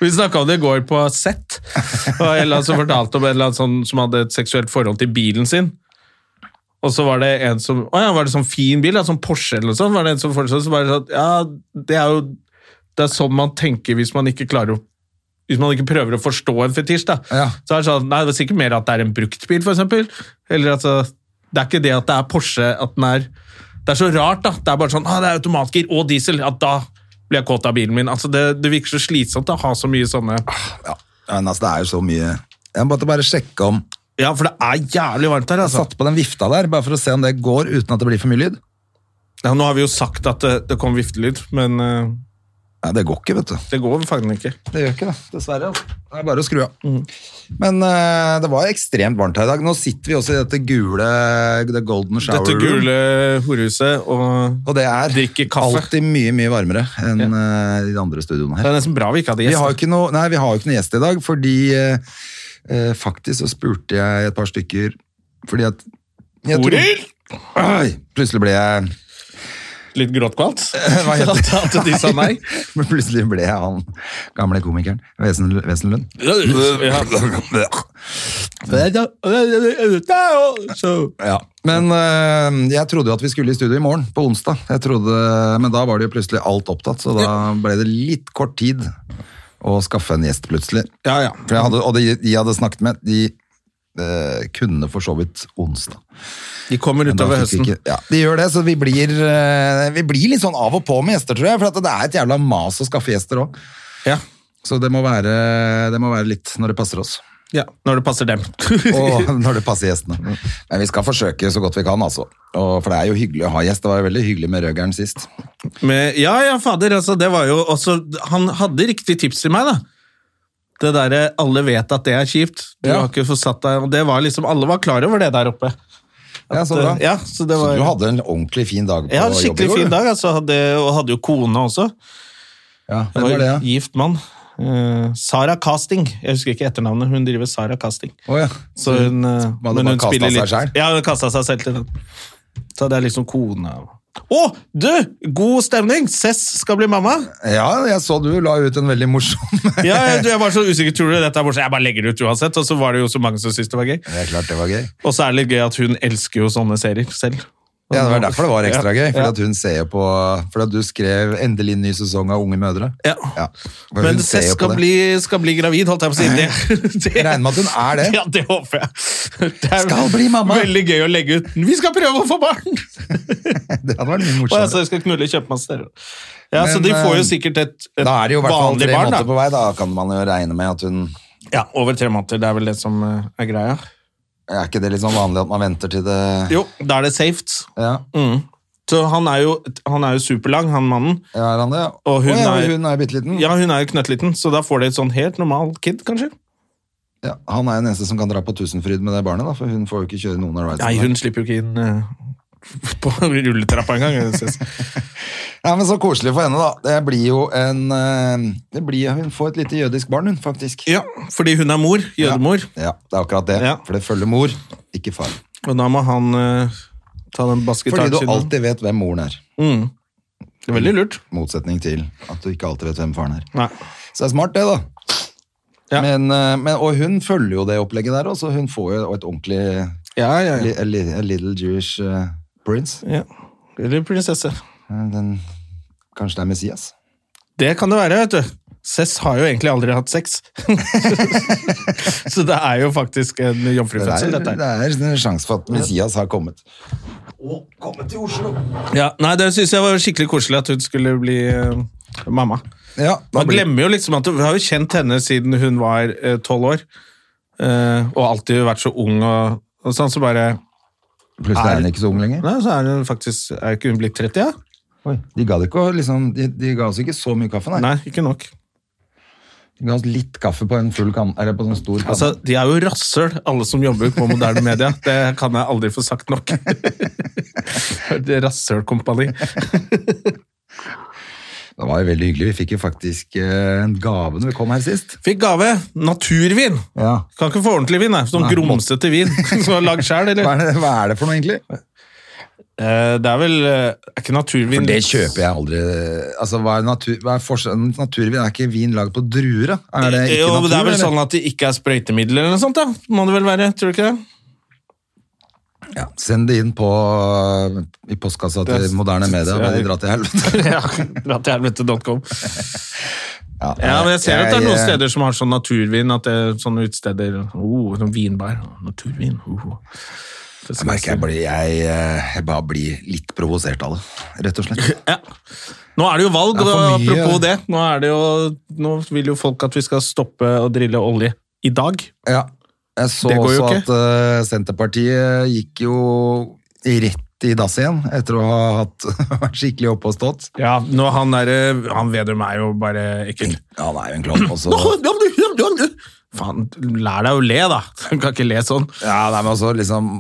Vi snakka om det i går på Sett, og en eller annen som fortalte om en eller annen sånn som hadde et seksuelt forhold til bilen sin. Og så var det en som Å ja, var det sånn fin bil? Ja, sånn Porsche eller noe sånt? Var det en som foreslo så var det sånn Ja, det er jo Det er sånn man tenker hvis man ikke klarer å hvis man ikke prøver å forstå en fetisj, da.
Ja.
Så er det sånn, nei, det er sikkert mer at det er en bruktbil, for eksempel. Eller at uh, det er ikke det at det er Porsche, at den er Det er så rart, da. Det er bare sånn ah, det er automatgir og diesel. At da blir jeg kåt av bilen min. Altså, det, det virker så slitsomt å ha så mye sånne
Ja, men altså, det er jo så mye Jeg måtte bare sjekke om
Ja, for det er jævlig varmt her,
Jeg
altså.
satte på den vifta der, bare for å se om det går uten at det blir for mye lyd.
Ja, nå har vi jo sagt at eh, det, det kom viftelyd, men uh,
Ja, det går ikke, vet du.
det går faktisk ikke.
Det gjør ikke det, dessverre. Altså. Mm. Det er bare å skru av. Men eh, det var ekstremt varmt her i dag. Nå sitter vi også i dette gule det golden shower
Dette
room,
gule horehuset og
Og det er
Drikker kaffe.
alltid mye, mye varmere enn eh, de andre studioene
Det
her.
er nesten bra vi ikke hadde
Vi har jo
gjester.
ikke noe, nei, vi har jo ikke noe gjest i dag, fordi eh, eh, faktisk så spurte jeg et par stykker fordi at jeg tror-
Horer!
Oi, plutselig ble jeg
Litt gråtkvalt.
Hva heter det?
At de sa nei.
Men plutselig ble jeg han gamle komikeren Vesen- Wesenlund.
Ja. Så-
Ja. Men eh, jeg trodde jo at vi skulle i studio i morgen, på onsdag. Jeg trodde, men da var det jo plutselig alt opptatt, så da ble det litt kort tid å skaffe en gjest plutselig.
Ja, ja.
For jeg hadde, og de de jeg hadde snakket med, de eh, kunne for så vidt onsdag.
De kommer
Men da
utover
fikk
høsten.
vi ikke- ja, de gjør det, så vi blir, eh, vi blir litt sånn av og på med gjester, tror jeg. For at det er et jævla mas å skaffe gjester òg.
Ja.
Så det må, være, det må være litt når det passer oss.
ja. Når det passer dem.
og når det passer gjestene. Men vi skal forsøke så godt vi kan, altså. Og, for det er jo hyggelig å ha gjest. Det var jo veldig hyggelig med Røgeren sist.
Med, ja, ja, fader. Altså, det var jo også Han hadde riktig tips til meg, da. Det derre 'alle vet at det er kjipt'. Du
Ja.
har ikke forsatt deg og Det var liksom Alle var klar over det der oppe.
Ja, så bra.
Ja, så det
Så
var
du hadde en ordentlig fin dag på
Jeg hadde en
jobb i
skikkelig
går,
fin
du.
dag, altså, hadde, og hadde jo kone også.
Ja, det
Jeg
var det, ja.
gift mann. Eh, Sara Casting. Jeg husker ikke etternavnet. Hun driver Sara Casting.
Å, ja.
Så hun, eh,
Hva, det Mm. bare kastet seg selv?
Ja, hun kasta seg selv til den. Så det er liksom kona Å, du! God stemning! Cess skal bli mamma.
ja, jeg så du la ut en veldig morsom
Ja, jeg, jeg var så usikker. Tror du dette er morsomt? Jeg bare legger det ut uansett. Og så var det jo så mange som syntes det var gøy.
Det er klart det var gøy.
Og så er det litt gøy at hun elsker jo sånne serier selv.
Ja, Det var derfor det var ekstra
Ja,
gøy. Fordi
ja.
at hun ser jo på Fordi at du skrev 'endelig ny sesong av Unge mødre'.
Ja.
Ja, for
Men
hun ser
Cess
jo på
skal
det.
bli, skal bli gravid, holdt jeg på å si. Det, det,
Jeg regner med at hun er det.
Ja, det håper jeg. Det er
Skal bli mamma.
Veldig gøy å legge ut. Vi skal prøve å få barn!
Det hadde
Og
vært mye
jeg
morsommere.
sa jeg skal knulle kjøpmasse. Ja, så
Men,
de får
eh,
jo sikkert et, et
Da er det jo i hvert fall
vanlig
tre
barn,
måneder
da.
på vei. Da kan man jo regne med at hun
Ja, over tre måneder. Det er vel det som eh, er greia.
Er ikke det litt sånn vanlig at man venter til det
Jo, da er det safe.
Ja,
Mm. Så han er, jo, han er jo superlang, han mannen.
ja er han det?
Og hun
Å, ja,
er-
hun er bitte liten.
Ja, hun er jo knøttliten, så da får de et sånn helt normal kid, kanskje.
Ja, han er jo den eneste som kan dra på Tusenfryd med det barnet, da, for hun får jo ikke kjøre noen av
Nei,
ridesene.
hun slipper jo ikke inn eh, på rulletrappa engang. synes jeg.
Ja, men så koselig for henne, da. Det blir jo en eh, det blir, Hun får et lite jødisk barn, hun, faktisk.
Ja, fordi hun er mor. Jødemor.
Ja, det er akkurat det.
Ja.
For det følger mor, ikke far.
Og da må han eh, ta den
Fordi
bassgitaren
du
sin.
alltid vet hvem moren er.
Mm. Det er veldig lurt.
Motsetning til at du ikke alltid vet hvem faren er.
Nei.
Så det er smart, det, da.
Ja.
Men, eh, men, og hun følger jo det opplegget der også. Hun får jo et ordentlig
Ja, ja,
li,
ja.
a li, a Little Jewish eh, prince.
ja. Eller prinsesse.
Eh, Den, kanskje det er Messias?
Det kan det være, vet du. Cess har jo egentlig aldri hatt sex. Så det er jo faktisk en
Det er,
jomfrufødsel, dette her.
det er en sjanse for at Messias har kommet.
Ja, nei, det syns jeg var skikkelig koselig at hun skulle bli eh, mamma.
Ja, da
Man
blir,
glemmer jo liksom at Vi har jo kjent henne siden hun var tolv år, eh, og alltid vært så ung og, og sånn, så bare
plutselig er han ikke så ung lenger.
Nei, så er hun faktisk Er ikke hun blitt 30, ja?
Oi, de, ga det ikke, å liksom, de, de ga oss ikke så mye kaffe, nei.
Nei, ikke nok.
De ga oss litt kaffe på en full kan, eller på en sånn stor kan.
Altså, De er jo rasshøl, alle som jobber på moderne media. Det kan jeg aldri få sagt nok. Det Rasshølkompani.
det var jo veldig hyggelig. Vi fikk jo faktisk eh, en gave når vi kom her sist.
Fikk gave naturvin.
Ja.
Kan ikke få ordentlig vin, nei. Sånn
Nei,
grumsete vin som er lagd sjæl,
Hva
eller?
er, det, hva er det for noe, egentlig?
Eh, Det er vel eh, Er ikke naturvin
For det kjøper jeg aldri. Altså, hva er natur, hva er forskjellen? Naturvin er ikke vin lagd på druer, da? Er sånn det ikke
jo,
natur,
det er vel
eller?
sånn at det ikke er sprøytemidler eller noe sånt, da. Må det vel være, tror du ikke det?
Ja, send det inn på, uh, i postkassa til
Det-
moderne media, men de
Ja.
drar til helvete.
ja, dra til helvete.com.
Ja,
Ja, men jeg ser at det er noen
jeg- eh,
steder som har sånn naturvin, at det er sånne utsteder oh, sånn Vinbær. Naturvin. Oh. Det
eh, Jeg
skal
merker jeg,
jeg si.
blir, jeg, eh, jeg bare blir litt provosert av det, rett og slett.
Ja. Nå er det jo valg,
Det
og
er for mye.
apropos det. Nå, er det jo, nå vil jo folk at vi skal stoppe å drille olje i dag.
Ja. Jeg så
Det går jo
også
ikke.
at eh, Senterpartiet gikk jo rett i dass igjen, etter å ha hatt, vært skikkelig oppe og stått.
Ja, nå han der, han Vedum er jo bare ekkel.
Ja, han er jo en klovn. og så-
Faen, lær deg å le, da. Du kan ikke le sånn.
Ja, nei, men også liksom,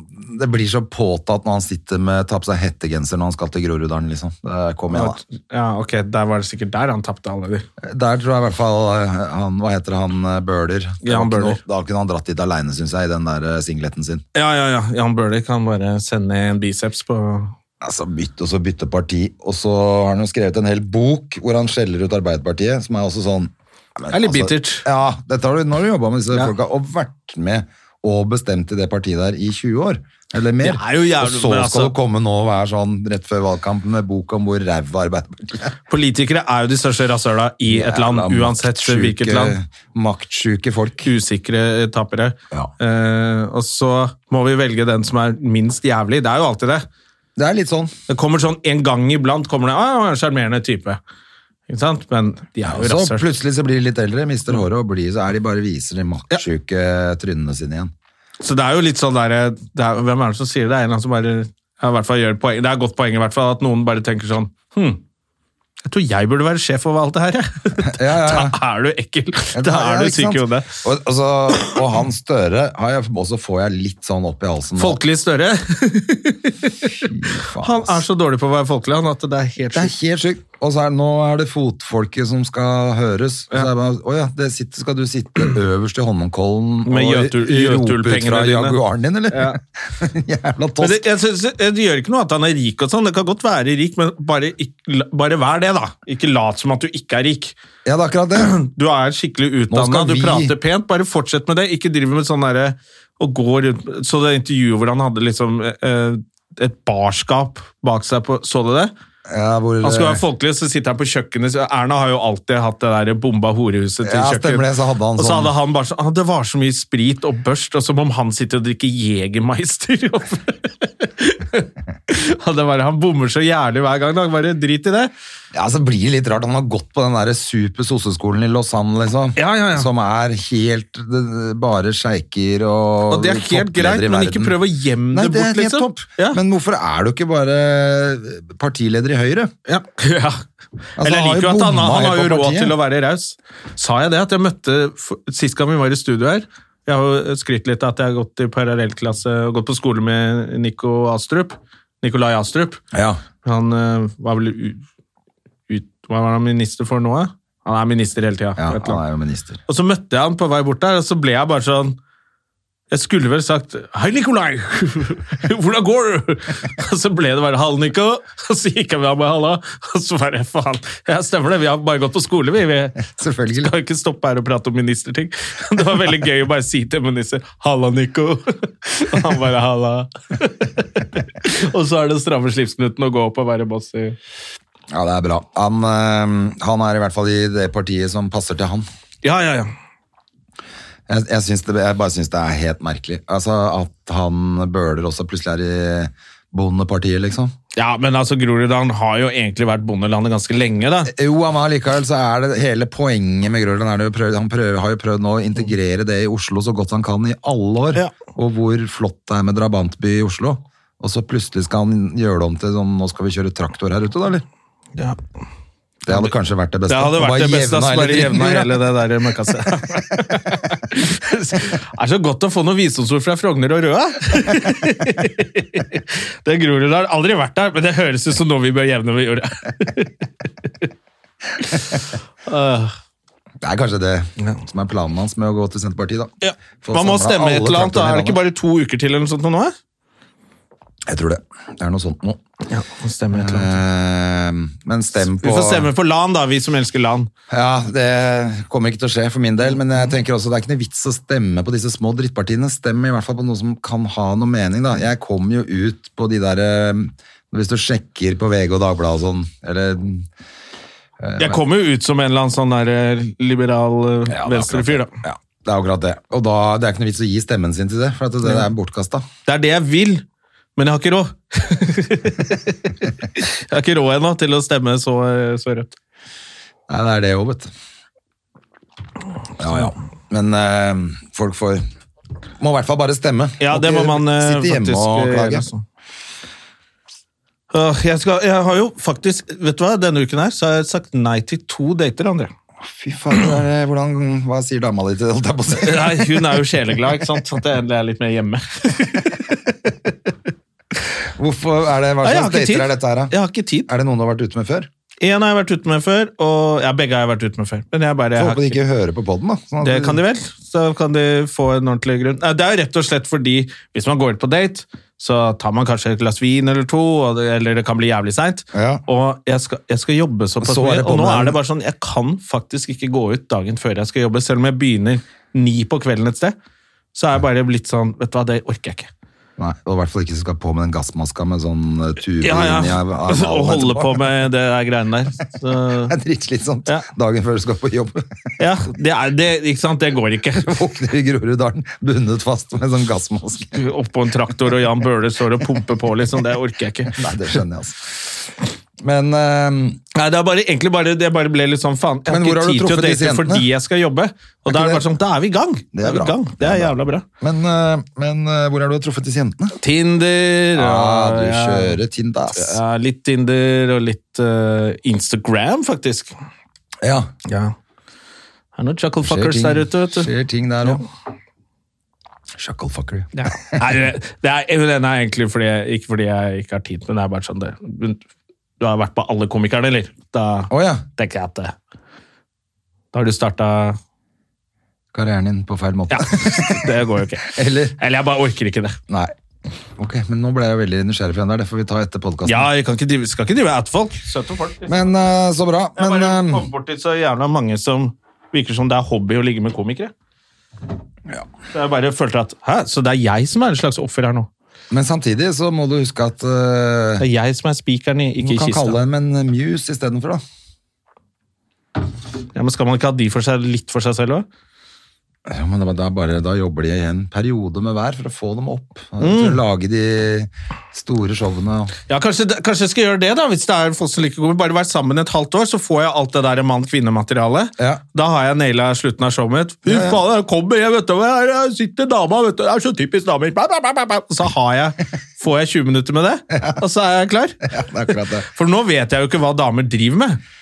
Det blir så påtatt når han sitter med tar på seg hettegenser når han skal til Groruddalen, liksom. Det- Kom igjen, da.
Ja, ok, der var det sikkert der han tapte allerede.
Der tror jeg i hvert fall eh, han, hva heter han, eh, Bøhler. Det
Ja, han
var ikke
Bøhler.
noe- Da kunne han dratt dit alene, syns jeg, i den der eh, singleten sin.
Ja, ja, ja. Jan Bøhler kan bare sende en biceps på
Altså bytte og så bytte parti. Og så har han jo skrevet en hel bok hvor han skjeller ut Arbeiderpartiet, som er også sånn ja, men
Det er litt bittert.
Ja, dette har du, nå har du jobba med disse
Ja.
folka og vært med og bestemt i det partiet der i 20 år. Eller mer.
Det er jo jævlig-
og så skal
men altså-
du komme nå og være sånn rett før valgkampen med bok om hvor ræva Arbeiderpartiet er.
Politikere er jo de største rasshøla i et land,
Jævla
uansett
maktsjuke-
hvilket land.
Maktsjuke folk.
Usikre tapere.
Ja.
Eh, og så må vi velge den som er minst jævlig. Det er jo alltid det.
Det er litt sånn.
Det kommer sånn en gang iblant kommer det ah, en sjarmerende type. Ikke sant? Men de er jo
Så
rasshøl.
Altså, plutselig så blir de litt eldre, mister håret og blir, så er de bare viser de maktsjuke trynene sine igjen.
Så det er jo litt sånn der, det er, Hvem er det som sier det? Det er en eller annen som bare ja, i hvert fall gjør poeng. Det er et godt poeng i hvert fall at noen bare tenker sånn Hm, jeg tror jeg burde være sjef over alt det her, jeg.
Ja, ja, ja.
Da er du ekkel.
Ja,
Da er du
ikke sant?
syk i hodet.
Og, og, så, og han Støre har jeg, også får jeg litt sånn opp i halsen. nå.
Folkelig Støre.
Faen,
Han er
ass.
så dårlig på å være folkelig, han, at det er helt
Det er
sjukt.
helt sjukt. Og så er, nå er det fotfolket som skal høres. Så er det bare, Å ja, det sitter, skal du sitte øverst i Holmenkollen
Med
og
Jøtul-
rope ut
Jøtul-pengene
fra
dine?
Jaguaren din, eller?
Ja.
Jævla
Men det,
tosk.
jeg synes, det gjør ikke noe at han er rik og sånn. Det kan godt være rik, men bare, ikk- la- bare vær det, da. Ikke lat som at du ikke er rik.
Ja, det er akkurat det.
Du er skikkelig utdanna,
skal
du
vi-
prater pent. Bare fortsett med det. Ikke driv med sånn derre å gå rundt Så det intervjuet hvor han hadde liksom eh, et barskap bak seg på Så du det?
Ja, hvor,
Han skulle være folkelig, så sitter han på kjøkkenet så Erna har jo alltid hatt det der bomba horehuset til
Ja,
kjøkken.
stemmer det, så hadde
og
han
så
sånn-
hadde han bare sånn ah, Det var så mye sprit og børst, og som om han sitter og drikker Jegermeister oppe. Ja, det var- han bommer så jævlig hver gang. Da. Bare drit i det.
Ja, så blir det litt rart. Han har gått på den der super sosseskolen i Lausanne, liksom.
Ja, ja, ja.
Som er helt eh, bare sjeiker og
Og det er helt
toppledere i
greit, men ikke
verden.
prøv å gjemme
Nei,
det
det er
bort,
helt
liksom.
topp.
Ja.
Men hvorfor er du ikke bare partileder i Høyre?
Ja. ja. Eller jeg liker
Altså, han har jo
jo at han,
bomma
han
helt
har jo
på
råd
partiet.
til å være raus. Sa jeg det at jeg møtte for- Sist gang vi var i studio her Jeg har jo skrytt litt av at jeg har gått i parallellklasse og gått på skole med Nico Astrup. Nikolai Astrup.
Ja.
Han eh, var vel u, ut, Hva var han minister for nå? eh? Han er minister hele tida.
han er jo minister.
Og så møtte jeg han på vei bort der, og så ble jeg bare sånn Jeg skulle vel sagt 'Hei, Nikolai! Hvordan går du?' Og så ble det bare 'Hall, Nico', og så gikk jeg med ham med 'Halla', og så bare Faen, ja, stemmer det, vi har bare gått på skole, vi. vi
Selvfølgelig.
skal ikke stoppe her og prate om ministerting. Det var veldig gøy å bare si til en minister 'Halla, Nico'. Og han bare 'Halla'. Og så er det å stramme slipsknuten og gå opp og være boss i
Ja, det er bra. Han, eh, han er i hvert fall i det partiet som passer til han.
Ja, ja, ja.
Jeg, jeg, syns det, jeg bare syns det er helt merkelig. Altså, At han Bøhler også plutselig er i bondepartiet, liksom.
Ja, men altså, Groruddalen har jo egentlig vært bondelandet ganske lenge, da.
Jo, men allikevel så er det hele poenget med Grønland er det jo prøvd, Han prøver, har jo prøvd nå å integrere det i Oslo så godt han kan i alle år.
Ja.
Og hvor flott det er med drabantby i Oslo. Og så plutselig skal han gjøre det om til sånn Nå skal vi kjøre traktor her ute, da, eller?
Ja.
Det hadde kanskje vært det beste.
Det hadde
Bare
vært det beste.
jevna
ass, Bare
hele
jevna
tiden,
hele det der møkkasset. Det er så godt å få noen visdomsord fra Frogner og Røa! Det gror jo der. Aldri vært der, men det høres ut som noe vi bør jevne med jorda. Ah,
Det er kanskje det som er planen hans med å gå til Senterpartiet, da.
ja.
Få
Man må
samlet
stemme
alle
et eller annet. da.
traktorene i
Er det ikke
landet.
bare to uker til eller noe sånt nå? eh?
Jeg tror det. Det er noe sånt nå.
Ja, det stemmer et eller annet.
Eh, men stem på
Vi får stemme på LAN, da, vi som elsker LAN.
Ja, det kommer ikke til å skje for min del, men jeg tenker også det er ikke noe vits å stemme på disse små drittpartiene. Stem i hvert fall på noe som kan ha noe mening, da. Jeg kom jo ut på de der eh, Hvis du sjekker på VG og Dagbladet og sånn, eller
Jeg kom jo ut som en eller annen sånn der eh, liberal eh,
Ja, det er
venstrefyr,
akkurat
da.
det. Ja, det er akkurat det. Og da, det er ikke noe vits å gi stemmen sin til det, for at det, det er bortkasta.
Det er det jeg vil, men jeg har ikke råd. jeg har ikke råd ennå til å stemme så, så rødt.
Nei, det er det òg, vet du. Ja, ja. Men eh, folk får Må i hvert fall bare stemme.
Ja,
Og
det må
ikke
man eh,
Sitte hjemme
faktisk
og
eh, gjøre,
klage.
altså. Åh, jeg, skal, jeg har jo faktisk Vet du hva, denne uken her så har jeg sagt nei til to dater, André.
Fy faen, hva er det- hvordan, hva sier dama di til det? holdt jeg på å si?
Nei, hun er jo sjeleglad, ikke sant? Så at jeg endelig er litt mer hjemme.
Hvorfor er det, Hva
Nei, jeg har ikke
slags dater
tid.
er dette her, da?
Jeg har ikke tid.
Er det noen du har vært ute med før?
En har jeg vært ute med før, og ja, begge har jeg vært ute med før. Men jeg bare,
Jeg
jeg har
håper de ikke hører på poden, da. Sånn at
Det
du-
kan de vel. Så kan de få en ordentlig grunn. Nei, Det er jo rett og slett fordi hvis man går ut på date, så tar man kanskje et glass vin eller to, og det, eller det kan bli jævlig seint.
Ja.
Og jeg skal, jeg skal jobbe såpass
Så er
mye,
det
og nå
bommen.
er det bare sånn Jeg kan faktisk ikke gå ut dagen før jeg skal jobbe, selv om jeg begynner ni på kvelden et sted. Så er jeg bare blitt sånn Vet du hva, det orker jeg ikke.
Nei, og i hvert fall ikke som skal på med den gassmaska med sånn eh, tube
Ja,
inni
ja.
av- av-
Å holde
etterpå.
på med det der greiene der. Så,
Det er dritslitsomt
Ja.
dagen før du skal på jobb.
ja, det, er, det, ikke sant? det går ikke.
Våkner i Groruddalen bundet fast med sånn gassmaske.
Oppå en traktor, og Jan Bøhler står og pumper på, liksom. Det orker jeg ikke.
Nei, det skjønner jeg, altså. Men eh,
Nei, det er bare, egentlig bare, det bare ble litt sånn, faen, jeg har
Men hvor
ikke
har du
tid til å
truffet disse
date
jentene?
fordi jeg skal jobbe. Og da
ikke
er det bare
det-
sånn, da er vi i gang.
Det er
Da vi i
bra.
gang. Det er jævla bra.
men, eh, men eh, hvor er du har truffet disse jentene?
Tinder,
Ja,
og- Ah,
du
ja.
kjører Tinder, ass.
Ja, litt Tinder og litt eh, Instagram, faktisk.
Ja.
Ja. Det er noen
Skjer
chucklefuckers
ting,
der ute, vet du.
skjer ting der òg. Shucklefucker.
Ja. Nei, det, det er, den er egentlig fordi jeg, ikke fordi jeg ikke har tid, men det er bare sånn det. Du har vært på alle komikerne, eller? Da
Å ja.
tenker jeg at det. Da har du startet...
Karrieren din på feil måte.
Ja, det går jo ikke.
Eller
Eller jeg bare orker ikke det.
Nei. Ok, men nå ble jeg veldig nysgjerrig på den der. Det får vi ta etter podkasten.
Ja, jeg kan ikke drive, skal ikke drive at folk. Søte folk. liksom.
Men eh, så bra.
jeg
Men
bare
eh,
kommer borti så jævla mange som virker som det er hobby å ligge med komikere.
eh,
Så jeg bare følte at Hæ, så det er jeg som er en slags offer her nå?
Men samtidig så må du huske at eh,
Det er jeg som er spikeren, i-
du
ikke i
kan
kista.
kalle dem en eh, muse istedenfor, da.
Ja, men skal man ikke ha de for seg, litt for seg selv òg?
Ja, men da, da, bare, da jobber de i en periode med hver for å få dem opp.
Mm.
For å lage de store showene. og-
Ja, kanskje, kanskje jeg skal gjøre det, da, hvis det er folk som liker komikere. Bare være sammen et halvt år, så får jeg alt det der mann-kvinne-materialet.
Ja.
Da har jeg naila slutten av showet mitt. Fy faen, jeg kommer, jeg vet du, her sitter dama, vet du, det er så typisk damer. Bla, bla, bla, bla, bla. Så har jeg, får jeg 20 minutter med det, og så er jeg klar.
Ja, det er akkurat det.
For nå vet jeg jo ikke hva damer driver med.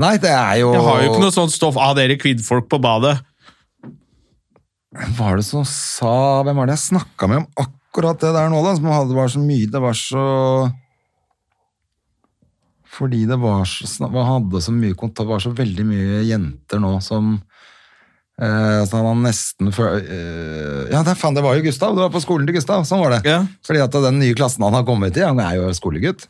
Nei, det er jo
Jeg har jo ikke noe sånt stoff av dere kvinnfolk på badet.
Hvem var det som sa Hvem var det jeg snakka med om akkurat det der nå, da? Som hadde var så mye Det var så Fordi det var så sna- man hadde så mye kontakt Det var så veldig mye jenter nå som eh, så han nesten før, eh, Ja, det, faen, det var jo Gustav. Det var på skolen til Gustav. Sånn var det.
Ja.
Fordi at den nye klassen han har kommet i, han er jo skolegutt,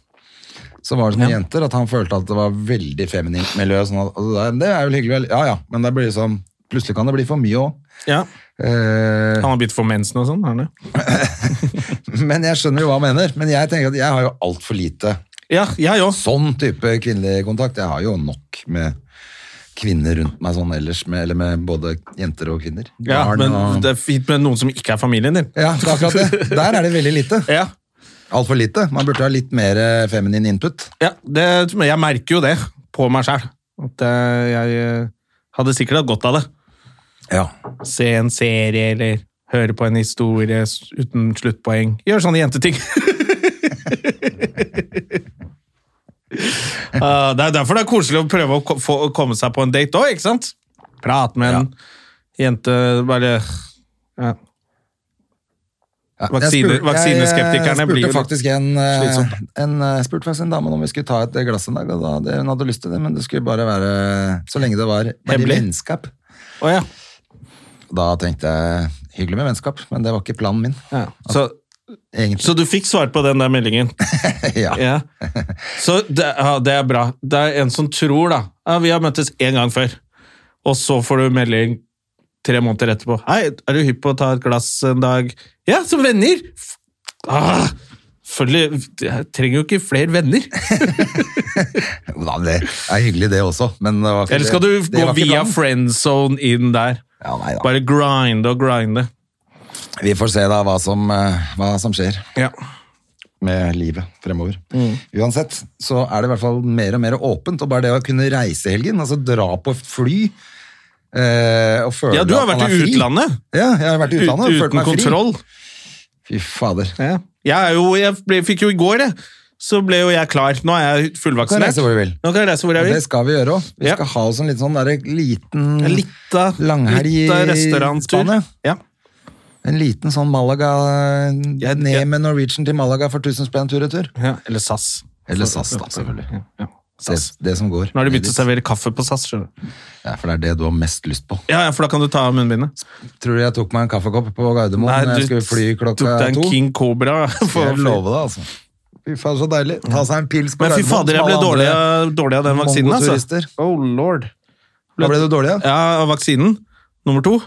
så var det sånne jenter at han følte at det var veldig feminint miljø. Sånn at, og det, er- det er jo hyggelig, vel. Ja, ja, men det blir sånn, plutselig kan det bli for mye òg.
Ja.
Eh,
Han har begynt å få mensen og sånn. har han det?
men jeg skjønner jo hva han mener. Men jeg tenker at jeg har jo altfor lite
Ja, jeg òg.
sånn type kvinnelig kontakt. Jeg har jo nok med kvinner rundt meg sånn ellers, med, eller med både jenter og kvinner.
Ja,
Barn
men
og...
det er fint med noen som ikke er familien din.
Ja, det er akkurat det. Der er det veldig lite.
Ja,
Altfor lite. Man burde ha litt mer eh, feminin input.
Ja, det, men jeg merker jo det på meg sjøl. At eh, jeg eh, hadde sikkert hatt godt av det.
Ja.
Se en serie eller høre på en historie s- uten sluttpoeng. Gjør sånne jenteting. Ah, det er derfor det er koselig å prøve å ko- få, å komme seg på en date òg, ikke sant? Prate med en jente Bare ja.
Ja,
Vaksine-
jeg spurte-
vaksineskeptikerne
jeg, eh,
blir jo
spurte
litt
faktisk en,
slitsomt,
eh, en, eh, spurte faktisk en dame om vi skulle ta et glass en dag, og da, det, hun hadde lyst til det, men det skulle bare være så lenge det var bare
Hemmelig?
vennskap.
Å ja.
Da tenkte jeg hyggelig med vennskap, men det var ikke planen min.
ja. Så
egentlig.
Så du fikk svart på den der meldingen?
Ja.
Ja. Så det, ja, det er bra. Det er en som tror, da. Ja, vi har møttes én gang før. Og så får du melding tre måneder etterpå. Hei, er du hypp på å ta et glass en dag? Ja, som venner! F- Ah, Selvfølgelig, jeg trenger jo ikke flere venner.
Jo da, det er hyggelig det også, men det var ikke-
Eller skal du
det- det
gå
var ikke
via
planen.
friendzone inn der?
Ja, nei da.
Bare grinde og grinde.
Vi får se da hva som, eh, hva som skjer
Ja.
med livet fremover.
Mm.
Uansett så er det i hvert fall mer og mer åpent, og bare det å kunne reise i helgen, altså dra på fly eh, og føle
Ja, du har
at man
vært
er
i
fri.
utlandet.
Ja, jeg har vært i utlandet og
Ut-
følt
Uten
meg
kontroll.
fri. Fy fader.
Ja. Jeg, er jo, jeg ble, fikk jo i går, jeg. Så ble jo jeg klar. Nå er jeg
Du kan
fullvaksinert.
reise hvor du vil.
Nå kan jeg reise hvor jeg
Det
vil.
skal vi gjøre òg. Vi
Ja.
skal ha oss en litt sånn der, liten
En lita,
sånn Langhelg i
lita restauranttur.
Spania.
Ja.
En liten sånn Malaga
Ja,
Ned
ja.
med Norwegian til Malaga for 1000 spenn tur retur.
Ja, eller SAS.
Eller SAS, da, selvfølgelig. Det,
SAS.
det som går.
Nå har de begynt å servere kaffe på SAS. skjønner du.
Ja, for det er det du har mest lyst på.
Ja, ja, for da kan du ta av munnbindet.
Tror du jeg tok meg en kaffekopp på Gardermoen
Nei,
da jeg
du
skulle fly klokka
tok deg en
to?
King Cobra. for å
Jeg
fly.
lover deg, altså. Fy faen, så deilig. Ta seg en pils på
Men fy fader, jeg
som
ble
alle
dårlig,
andre
av- dårlig av den vaksinen, altså.
mongoturister.
Oh lord.
Da ble du dårlig, ja?
Ja, av vaksinen. Nummer to.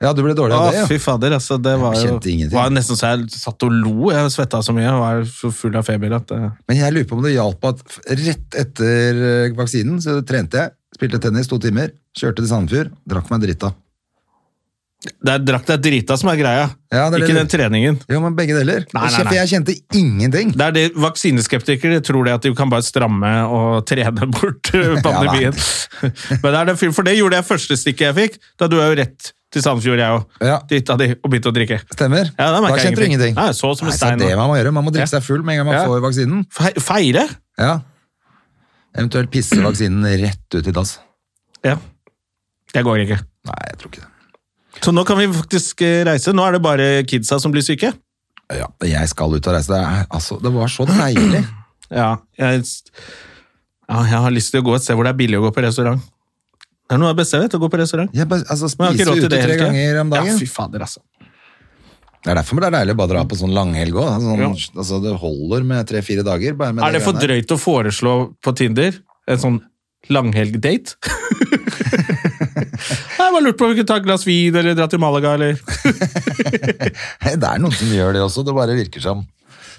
Ja, du ble dårlig
Å,
av det,
fy
ja.
fader, altså. Det var
Jeg
jo
kjente ingenting.
var nesten så jeg satt og lo. Jeg svetta så mye og var så full av feber at eh,
Men jeg lurer på om det hjalp at f- rett etter eh, vaksinen så trente jeg, spilte tennis to timer, kjørte til Sandefjord, drakk meg drita.
Det er drakk deg drita som er greia,
Ja, det er
ikke den
det.
treningen.
Jo, men begge deler.
Nei, nei,
Jeg kjente-
nei.
Jeg kjente ingenting.
Det er det Vaksineskeptikere tror det at de kan bare stramme og trene bort eh, pandemien. Men det er det, fyr- for det gjorde jeg første stikket jeg fikk. Da dro jeg jo rett til Sandefjord, jeg òg.
Ja.
Dytta de og begynte å drikke.
Stemmer.
Ja, da merket jeg
kjente du
ingenting.
ingenting.
Nei, jeg så som en
Nei,
stein,
det
da.
man må gjøre. Man må drikke
Ja.
seg full med en gang man
Ja.
får vaksinen.
Fe feire?
Ja. Eventuelt pisse vaksinen rett ut i dass.
Ja. Det går ikke.
Nei, jeg tror ikke det.
Så nå kan vi faktisk eh, reise. Nå er det bare kidsa som blir syke.
Ja, jeg skal ut og reise. Det, er, altså, det var så deilig.
Ja, jeg, ja, jeg har lyst til å gå et sted hvor det er billig å gå på restaurant. Det er noe av det beste jeg vet, å gå på restaurant.
Jeg bare, altså,
Men jeg
spise
har ikke råd
ute
til det
tre
hele tiden.
ganger om dagen.
Ja, fy fader, altså.
det er derfor det er deilig å bare dra på sånn langhelg òg. Sånn,
Ja.
altså, det holder med tre-fire dager. Bare med
Er det for
greiene der.
drøyt å foreslå på Tinder en sånn langhelg-date? Nei, Jeg bare lurte på om vi kunne ta et glass vin eller dra til Malaga eller
Nei, Det er noen som gjør det også. Det bare virker som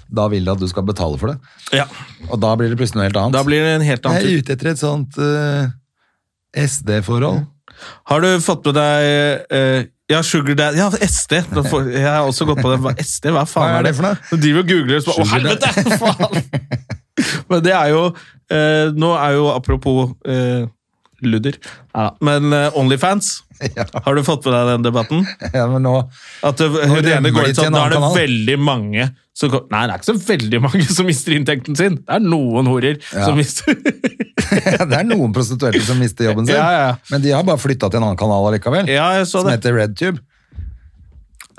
Da vil de at du skal betale for det.
Ja,
Og da blir det plutselig noe helt annet.
da blir det en helt
Jeg
annen
er
tur.
ute etter et sånt eh, SD-forhold.
Har du fått med deg eh, Ja, Sugar Daddy Ja, SD. Da får- Jeg har også gått på det. Hva- SD, hva faen
Hva er det for noe?
Du driver og googler og så bare Å,
Sugar Daddy.
helvete! Faen! Men det er jo eh, Nå er jo apropos eh, ludder, ja, men eh, Onlyfans
Ja.
Har du fått med deg den debatten?
Ja, men nå
At det, hun ene
rømmer
går
de
ut
til
sånn,
en
da er det
annen kanal.
veldig mange som går, Nei, det er ikke så veldig mange som mister inntekten sin. Det er noen horer som mister
Det er noen prostituerte som mister jobben sin,
Ja, ja, ja.
men de har bare flytta til en annen kanal allikevel.
Ja, jeg så
som
det.
heter RedTube,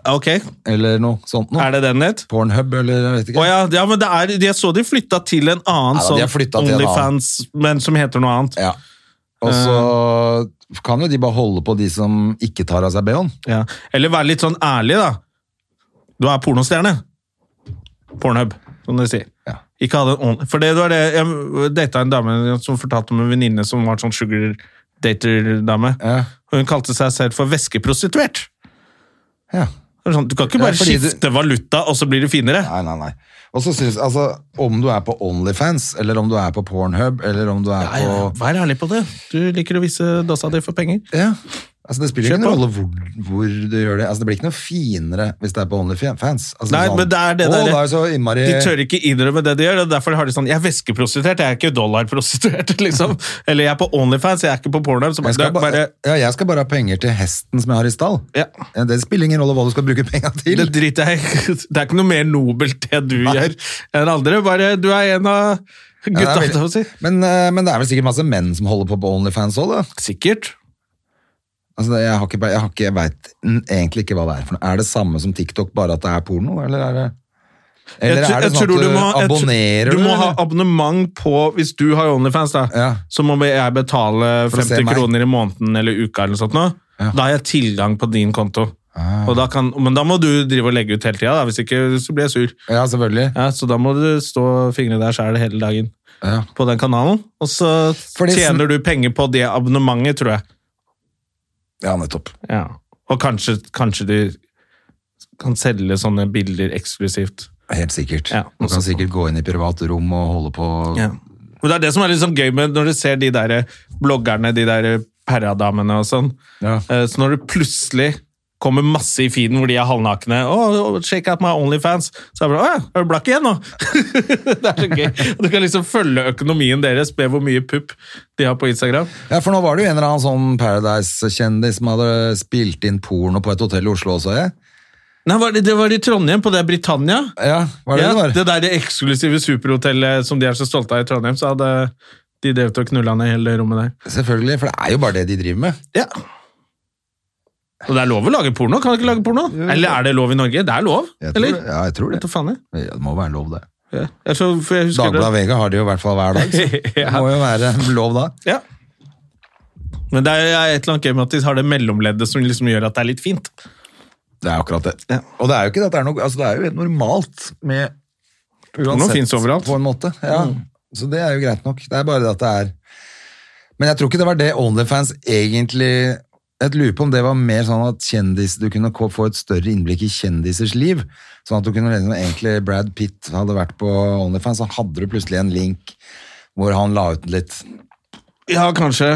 Ok,
eller noe sånt noe.
er det den het?
Pornhub, eller jeg vet
Å
ikke.
ja, ja, men det er, jeg så de flytta til en annen
Ja, de har flyttet
sånn
til en
Onlyfans, men som heter noe annet.
Ja. Og så
Eh.
kan jo de bare holde på de som ikke tar av seg BH-en.
Ja. Eller være litt sånn ærlig, da. Du er pornostjerne. Pornhub, som de sier.
Ja.
Ikke hadde en on... For det var det Jeg data en dame som fortalte om en venninne som var sånn sugar dater-dame.
Ja.
Hun kalte seg selv for væskeprostituert. Det
Ja.
er Sånn, du kan ikke
Ja,
bare
fordi du-
skifte valuta, og så blir det finere.
Nei, nei, nei. Og så synes, altså, Om du er på Onlyfans, eller om du er på Pornhub, eller om du er
Nei, ja,
på
Vær ærlig på det. Du liker å vise dassa di for penger.
ja. Altså, Det spiller
Kjør
ikke noen
på.
rolle hvor, hvor du gjør det. Altså, Det blir ikke noe finere hvis det er på Onlyfans. Altså,
Nei, men det er det
«Å,
der-
da er så innmari...
De tør ikke innrømme det de gjør, og derfor har de sånn Jeg er væskeprostituert, jeg er ikke dollarprostituert, liksom. Eller jeg er på Onlyfans, jeg er ikke på porno. Så bare,
Jeg
det
skal,
er
bare,
bare
ja, jeg skal bare ha penger til hesten som jeg har i stall.
Ja.
Det spiller ingen rolle hva du skal bruke penga til.
det driter jeg i. Det er ikke noe mer nobelt det du gjør enn andre. Bare du er en av
Ja, det
gutta,
er
holdt jeg på å
veldig-
si.
men, eh, men det er vel sikkert masse menn som holder på på Onlyfans òg, da.
Sikkert.
Altså, det- jeg har ikke, jeg har ikke, jeg vet n- egentlig ikke hva det er for noe. Er det samme som TikTok, bare at det er porno, eller er det
Jeg tr- jeg
Eller er det sånn at
tror
du
må- jeg tr-
abonnerer,
Du må ha
eller?
abonnement på Hvis du har Onlyfans, da,
Ja.
så må jeg betale
For å se
50
meg.
kroner i måneden eller uka eller noe sånt. nå.
Ja. Ah.
Da har jeg tilgang på din konto. Og da kan, men da må du drive og legge ut hele tida, da, hvis ikke så blir jeg sur.
Ja, selvfølgelig.
Ja, Så da må du stå fingrene der sjæl hele dagen
Ja.
på den kanalen. Og så
Fordi sånn-
tjener du penger på det abonnementet, tror jeg.
ja, nettopp.
Ja. Og kanskje, kanskje du kan selge sånne bilder eksklusivt.
Helt sikkert.
Ja,
du kan sikkert gå inn i privat rom og holde på
Men det er det som er litt sånn gøy med når du ser de der bloggerne, de der herradamene og sånn.
Ja.
Eh, Så når det plutselig kommer masse i feeden hvor de er halvnakne oh, check out my Onlyfans. Så er det bare, «Å, er du blakk igjen nå? det er så gøy. Du kan liksom følge økonomien deres med hvor mye pupp de har på Instagram.
Ja, for nå var det jo en eller annen sånn Paradise-kjendis som hadde spilt inn porno på et hotell i Oslo også, jeg.
Nei, var det, det var i Trondheim, på det Britannia.
Ja, var det
ja,
det var?
det der det eksklusive superhotellet som de er så stolte av i Trondheim, så hadde de drevet og knulla ned hele rommet der.
Selvfølgelig, for det er jo bare det de driver med.
Ja. Og det er lov å lage porno? Kan du ikke lage porno? Eller er det lov i Norge? Det er lov,
Jeg tror
eller?
det. Ja, jeg tror
Vet
det.
du faen jeg.
Ja, Det må være lov, det.
Ja. Jeg tror, for jeg husker
Dagbladet Vega har det jo i hvert fall hver dag. Så.
det.
Det
ja.
må jo være lov da.
ja. Men det er et eller annet gøy med at de har det mellomleddet som liksom gjør at det er litt fint.
Det er akkurat det.
Ja.
Og det er jo ikke det at det er noe Altså, det er jo helt normalt med
Porno finnes overalt. Mm.
På en måte, ja. Så det er jo greit nok. Det er bare det at det er Men jeg tror ikke det var det Onlyfans egentlig Jeg lurer på om det var mer sånn at kjendis du kunne ko- få et større innblikk i kjendisers liv. Sånn at du kunne lese om egentlig Brad Pitt hadde vært på Onlyfans, så hadde du plutselig en link hvor han la ut litt
Ja, kanskje.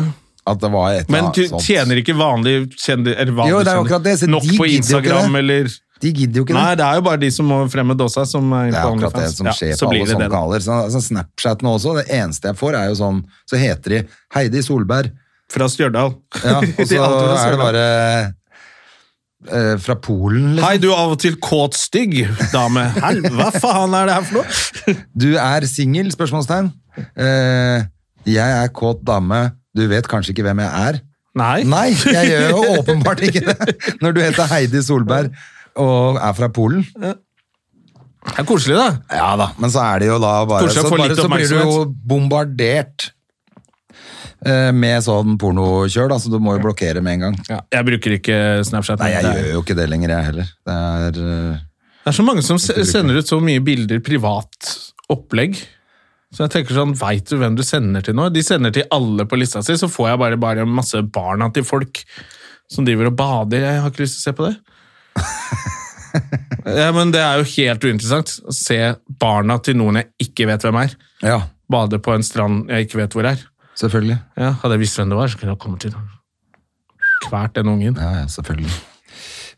At det var et eller
Men
annet
du
sånt.
tjener ikke vanlige kjendi- eller vanlige
Jo, det er
kjendi-
jo akkurat det, så
nok
de
på
gidder jo ikke
Instagram
det.
eller
De gidder jo ikke
Nei, det er jo bare de som må frem med dåsa, som er
Det
inne
er
på
akkurat det
OnlyFans.
som
Ja,
skjer
så
på
blir
alle
det
sånne
det, da.
kanaler. Så, så Snapchat nå også, det eneste jeg får er jo sånn, så heter de Heidi Solberg,
Fra Stjørdal.
ja, og
De
så
alltid fra
er det
Stjørdal.
bare eh, fra Polen,
Hei,
liksom.
du er av og til kåt stygg, dame. Hel- Hva faen er det her for noe?
Du er singel, spørsmålstegn. Eh, jeg er kåt dame, du vet kanskje ikke hvem jeg er.
Nei.
Nei, jeg gjør jo åpenbart ikke det, når du heter Heidi Solberg og er fra Polen.
Det er koselig, da.
Ja da, men så er det jo da bare
Kanskje
Så,
jeg får
bare,
litt
så blir du jo
oppmerksomhet.
bombardert eh, med sånn pornokjør, da, så du må jo blokkere med en gang.
Jeg bruker ikke Snapchat.
Nei, jeg
det,
gjør
er,
jo ikke det lenger, jeg heller. Det er eh,
det er så mange som se- sender ut så mye bilder privat opplegg. Så jeg tenker sånn, Veit du hvem du sender til nå? De sender til alle på lista si, så får jeg bare, bare masse barna til folk som driver og bader. Jeg har ikke lyst til å se på det. ja, men Det er jo helt uinteressant å se barna til noen jeg ikke vet hvem er,
Ja,
bade på en strand jeg ikke vet hvor er.
eh, selvfølgelig.
Ja, Hadde jeg visst hvem det var, så kunne jeg kommet til hvert den ungen.
Ja, ja, selvfølgelig.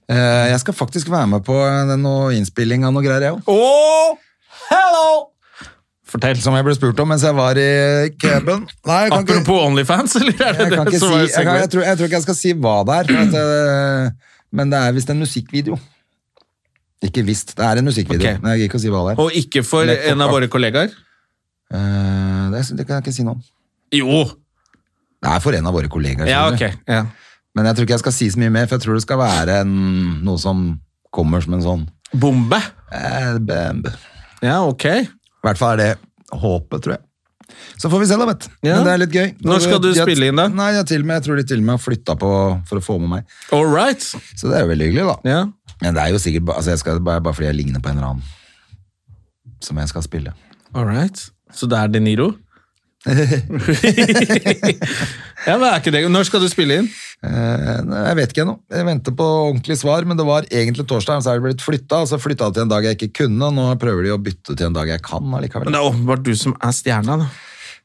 Eh, jeg skal faktisk være med på en- noe innspilling av noe greier, jeg òg.
Oh, hello! Fortell.
Som jeg ble spurt om mens jeg var i caben. Nei, jeg kan ikke,
Apropos Onlyfans, eller er det
jeg kan
det
ikke si
som var
jeg, kan, jeg,
segmentet?
tror, jeg tror ikke jeg skal si hva det er, for at, eh, men det er visst en musikkvideo. Ikke visst, det er en musikkvideo.
Ok.
Men jeg gidder ikke å si hva det er.
Og ikke for
Nettopp.
en av våre kollegaer?
Eh, det, det kan jeg ikke si noe om.
Jo!
Det er for en av våre kollegaer.
Ja,
skjønner
ok.
du.
Ja.
Men jeg tror ikke jeg skal si så mye mer, for jeg tror det skal være en, noe som kommer som en sånn
Bombe?
eh, bam. I
Ja, ok.
hvert fall er det håpet, tror jeg. Så får vi se, da, vet du.
Ja.
Men det er litt gøy.
Når skal du
De har-
spille inn, da?
Nei, jeg, til og med, jeg tror de til og med har flytta på for å få med meg.
All right.
Så det er jo veldig hyggelig, da.
Ja.
Men det er jo sikkert ba- altså, jeg skal, bare, bare fordi jeg ligner på en eller annen som jeg skal spille.
All right. Så det er De Niro? ja, men er ikke det. Når skal du spille inn?
Eh, nei, jeg vet ikke ennå. Jeg venter på ordentlig svar, men det var egentlig torsdag, men så er det blitt flytta. Og så flytta det til en dag jeg ikke kunne, og nå prøver de å bytte til en dag jeg kan allikevel.
Men det er åpenbart du som er stjerna. da.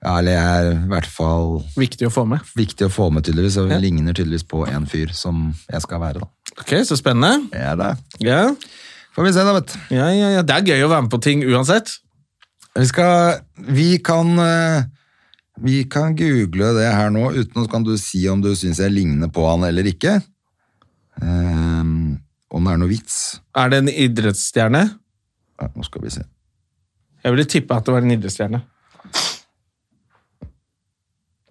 Ja, eller jeg er i hvert fall
Viktig å få med.
viktig å få med, tydeligvis, og ligner tydeligvis på en fyr som jeg skal være, da.
Ok, Så spennende.
Jeg er det.
Ja.
Får vi se, da, vet du.
Ja, ja, ja. Det er gøy å være med på ting uansett.
Vi skal Vi kan eh, Vi kan google det her nå, uten så kan du si om du syns jeg ligner på han eller ikke. Ehm, om det er noe vits.
Er det en idrettsstjerne?
Ja, nå skal vi se.
Jeg ville tippe at det var en idrettsstjerne.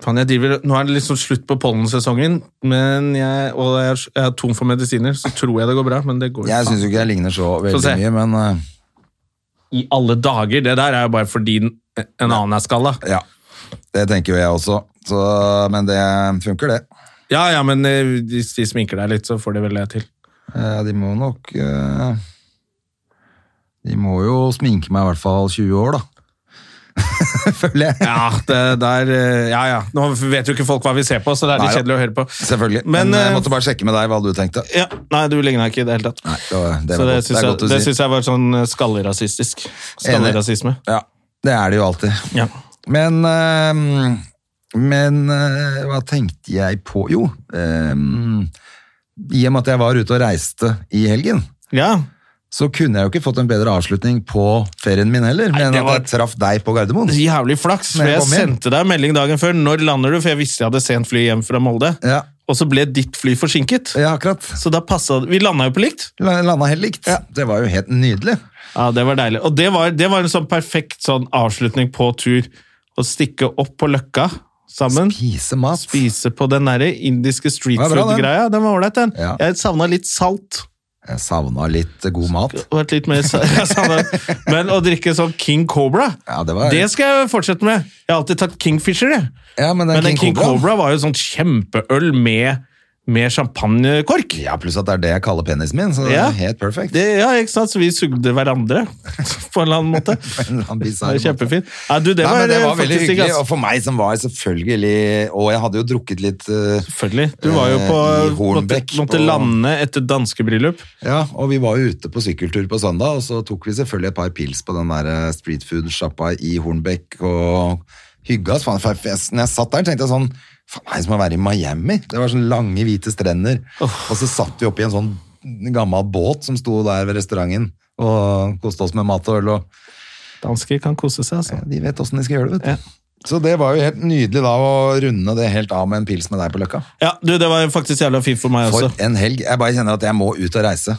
Faen, jeg driver, nå er det liksom slutt på pollensesongen, men jeg, og jeg er, jeg er tom for medisiner, så tror jeg det går bra, men det går
Jeg
faen.
syns jo ikke jeg ligner så
Få se.
veldig mye, men eh,
I alle dager, det der er jo bare fordi en en annen er skalla.
ja. Det tenker jo jeg også. Så, men det funker, det.
Ja, ja, men eh, hvis de sminker deg litt, så får de vel det til.
Eh, De må nok eh, De må jo sminke meg i hvert fall 20 år, da. Føler jeg.
Ja, det der eh, Ja, ja. Nå vet jo ikke folk hva vi ser på, så det er litt
Nei,
kjedelig å høre på.
Selvfølgelig.
Men,
Men,
eh,
jeg måtte bare sjekke med deg hva du tenkte.
Ja, Nei, du ligna ikke i det hele tatt.
Nei, det, var, det,
så
var
det
godt.
syns
det er
jeg,
godt
det
å si.
synes jeg var sånn eh, skallerasistisk. Skallerasisme.
Ja, det er det jo alltid.
Ja.
Men eh, Men eh, hva tenkte jeg på? Jo, eh, i og med at jeg var ute og reiste i helgen,
ja.
så kunne jeg jo ikke fått en bedre avslutning på ferien min heller, men
det var-
at jeg traff deg på Gardermoen.
Jævlig flaks.
Når
For
jeg
jeg
kom hjem.
sendte deg melding dagen før. Når lander du? For jeg visste jeg hadde sent fly hjem fra Molde.
Ja,
Og så ble ditt fly forsinket.
ja akkurat.
Så da passa det. Vi landa jo på likt.
La- Landa helt likt. Det var jo helt nydelig.
Ja, det var deilig. Og det var, det var en sånn perfekt sånn avslutning på tur. Å stikke opp på Løkka sammen.
Pise mat.
Spise på den derre indiske street
Det var bra,
food-greia. Den var ålreit, den.
Ja.
Jeg savna litt salt.
Jeg savna litt god mat.
Og vært litt mer sa- jeg savnet- Men å drikke sånn King Cobra,
Ja, det var-
det skal jeg fortsette med. Jeg har alltid tatt Kingfisher, jeg.
Ja, men den
Men den
King, Cobra,
var jo sånn kjempeøl med, med champagnekork.
Ja, Pluss at det er det jeg kaller penisen min, så det
Ja.
er helt perfekt.
Det, ja, ikke sant? Så vi sugde hverandre på en eller annen måte.
På en eller annen
Det
bisarr
var
måte.
kjempefint. Ja, du, det,
Nei,
var,
men det var veldig
faktisk altså.
hyggelig,
digg,
og
ass.
for meg som var selvfølgelig Og jeg hadde jo drukket litt eh,
Selvfølgelig. Du var jo på
Eh, i
måtte,
Hornbæk
måtte
på-
lande etter danskebryllup.
Ja, og vi var jo ute på sykkeltur på søndag, og så tok vi selvfølgelig et par pils på den der eh, streetfood-sjappa i Hornbæk, og hygga oss. faen, for jeg- Når jeg satt der, tenkte jeg sånn Faen, det er som å være i Miami. Det var sånne lange, hvite strender. Og så satt vi oppi en sånn gammel båt som sto der ved restauranten, og koste oss med mat og øl, og
Dansker kan kose seg, altså.
ja, de vet åssen de skal gjøre det, vet du.
Ja.
Så det var jo helt nydelig da å runde det helt av med en pils med deg på Løkka.
Ja, du, det var jo faktisk jævla fint for meg
For
også.
en helg. Jeg bare kjenner at jeg må ut og reise.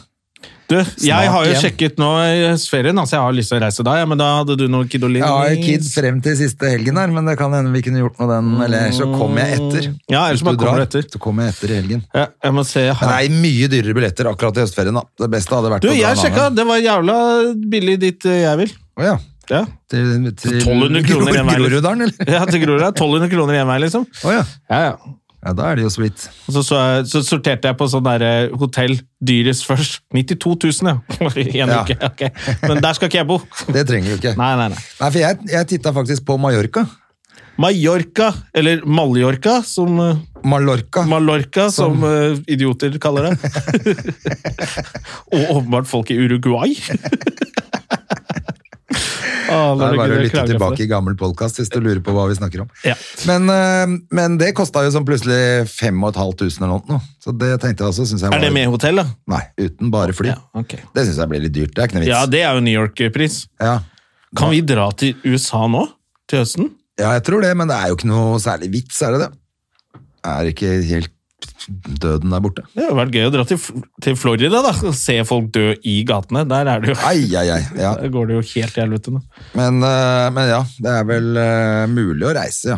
Du, jeg har jo
igjen.
sjekket nå i høstferien, altså jeg har lyst til å reise da, ja, men da hadde du noe Kidolin.
Jeg har jo kids frem til siste helgen her, men det kan hende vi kunne gjort noe den, eller så kommer jeg etter.
Ja, ellers
Hvis
bare
du
kommer
drar,
du etter.
Så kommer jeg etter i helgen.
Ja, jeg må se. jeg har-
Men det er mye dyrere billetter akkurat i høstferien da. Det beste hadde vært
Du,
å dra
jeg
en
sjekka,
annen.
det var jævla billig dit eh, jeg vil.
Å ja.
Ja,
Til, til
1200 kroner i en vei.
Groruddalen, eller?
ja til Grorud. 1200 kroner én vei, liksom.
Å ja.
Ja, ja.
Ja, da er det jo så vidt.
Og så, så, jeg, så sorterte jeg på sånn der eh, hotell dyrest først. 92 000, ja. I en
Ja.
uke. ok. Men der skal ikke jeg bo.
Det trenger du ikke.
Nei, nei, nei.
Nei, for jeg, jeg titta faktisk på Mallorca.
Mallorca, eller Mallorca, som eh,
Mallorca.
Mallorca, som, eh, idioter kaller det. Og åpenbart folk i Uruguay. Ah,
Da er
herregud,
det bare å
jeg
lytte
klager for
tilbake
det.
i gammel podkast hvis du lurer på hva vi snakker om.
Ja.
Men, eh, men det kosta jo sånn plutselig 5500 eller noe. Så det tenkte jeg også. Synes jeg
Er det
var-
med hotell, da?
Nei, uten bare fly.
Ja, ok.
Det syns jeg blir litt dyrt. Det er ikke noe vits.
Ja, det er jo New York-pris.
Ja.
Kan vi dra til USA nå? Til høsten?
ja, jeg tror det, men det er jo ikke noe særlig vits, er det det? Er ikke helt døden der borte.
Det hadde vært gøy å dra til, F- til Florida da, og se folk dø i gatene. Der er det jo
Ai, ai, ai. Ja.
Der går det jo helt til helvete nå.
Men, eh, men ja, det er vel eh, mulig å reise, ja.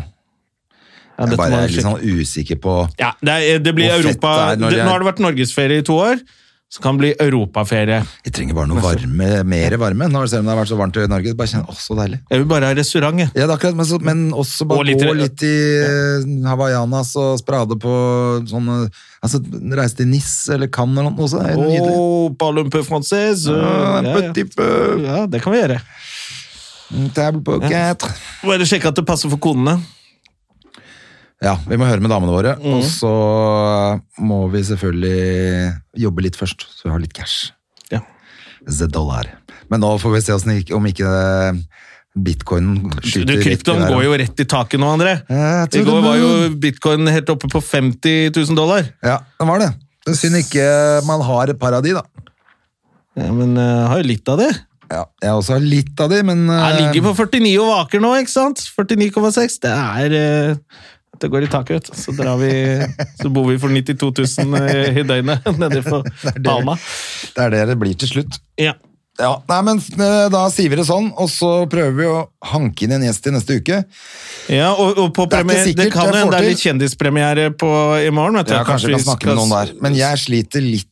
Ja,
Jeg
dette
bare
må
er
jeg
litt
sjekke.
sånn usikker på
ja, det, er, det blir
Hvor fett
Europa
det er
det,
når jeg-
Nå har det vært norgesferie i to år, så kan det bli europaferie.
Jeg trenger bare noe varme, mer varme. Nå, selv om det har vært så varmt i Norge. Bare kjenner, åh, så deilig.
Jeg vil bare ha restaurant, jeg.
Ja, det er akkurat, men, så, men også bare
Og litt-
gå litt i eh, Havajanas og sprade på sånne Altså, reise til Nis eller Cannes eller noe sånt. Det er jo nydelig.
Oh, ballon peu français.
Ah,
øh, Ja,
un
ja.
petit peu,
ja, det kan vi gjøre.
une table pour quatre.
Bare sjekke at det passer for konene.
Ja, vi må høre med damene våre.
Mm.
Og så må vi selvfølgelig jobbe litt først, så vi har litt cash.
Ja.
The dollar. Men nå får vi se hvordan det gikk- om ikke eh, bitcoinen skyter
Du,
rett i
kryptoen
været.
går jo rett i taket nå, André.
Ja, jeg
I
tror
går
det
var
må-
jo bitcoin helt oppe på 50 000 dollar.
Ja, den var det. Det er synd ikke man har et par av de, da.
Ja, men eh, har jo litt av det.
Ja, jeg også har litt av de, men
Jeg
eh,
ligger på 49 og vaker nå, ikke sant? 49,6. Det er eh, Det går i taket, vet du. Så drar vi Så bor vi for 92 000 i døgnet nede på Palma.
det er det det blir til slutt.
Ja.
Ja, nei, men eh, Da sier vi det sånn, og så prøver vi å hanke inn en gjest til neste uke.
ja og, og på
Det er ikke
premiere Det,
sikkert
kan
jeg
jo hende
får
det er
til.
litt kjendispremiere på, i morgen, vet du.
Ja, kanskje vi kan
vi
snakke
skal-
med noen der. Men jeg sliter litt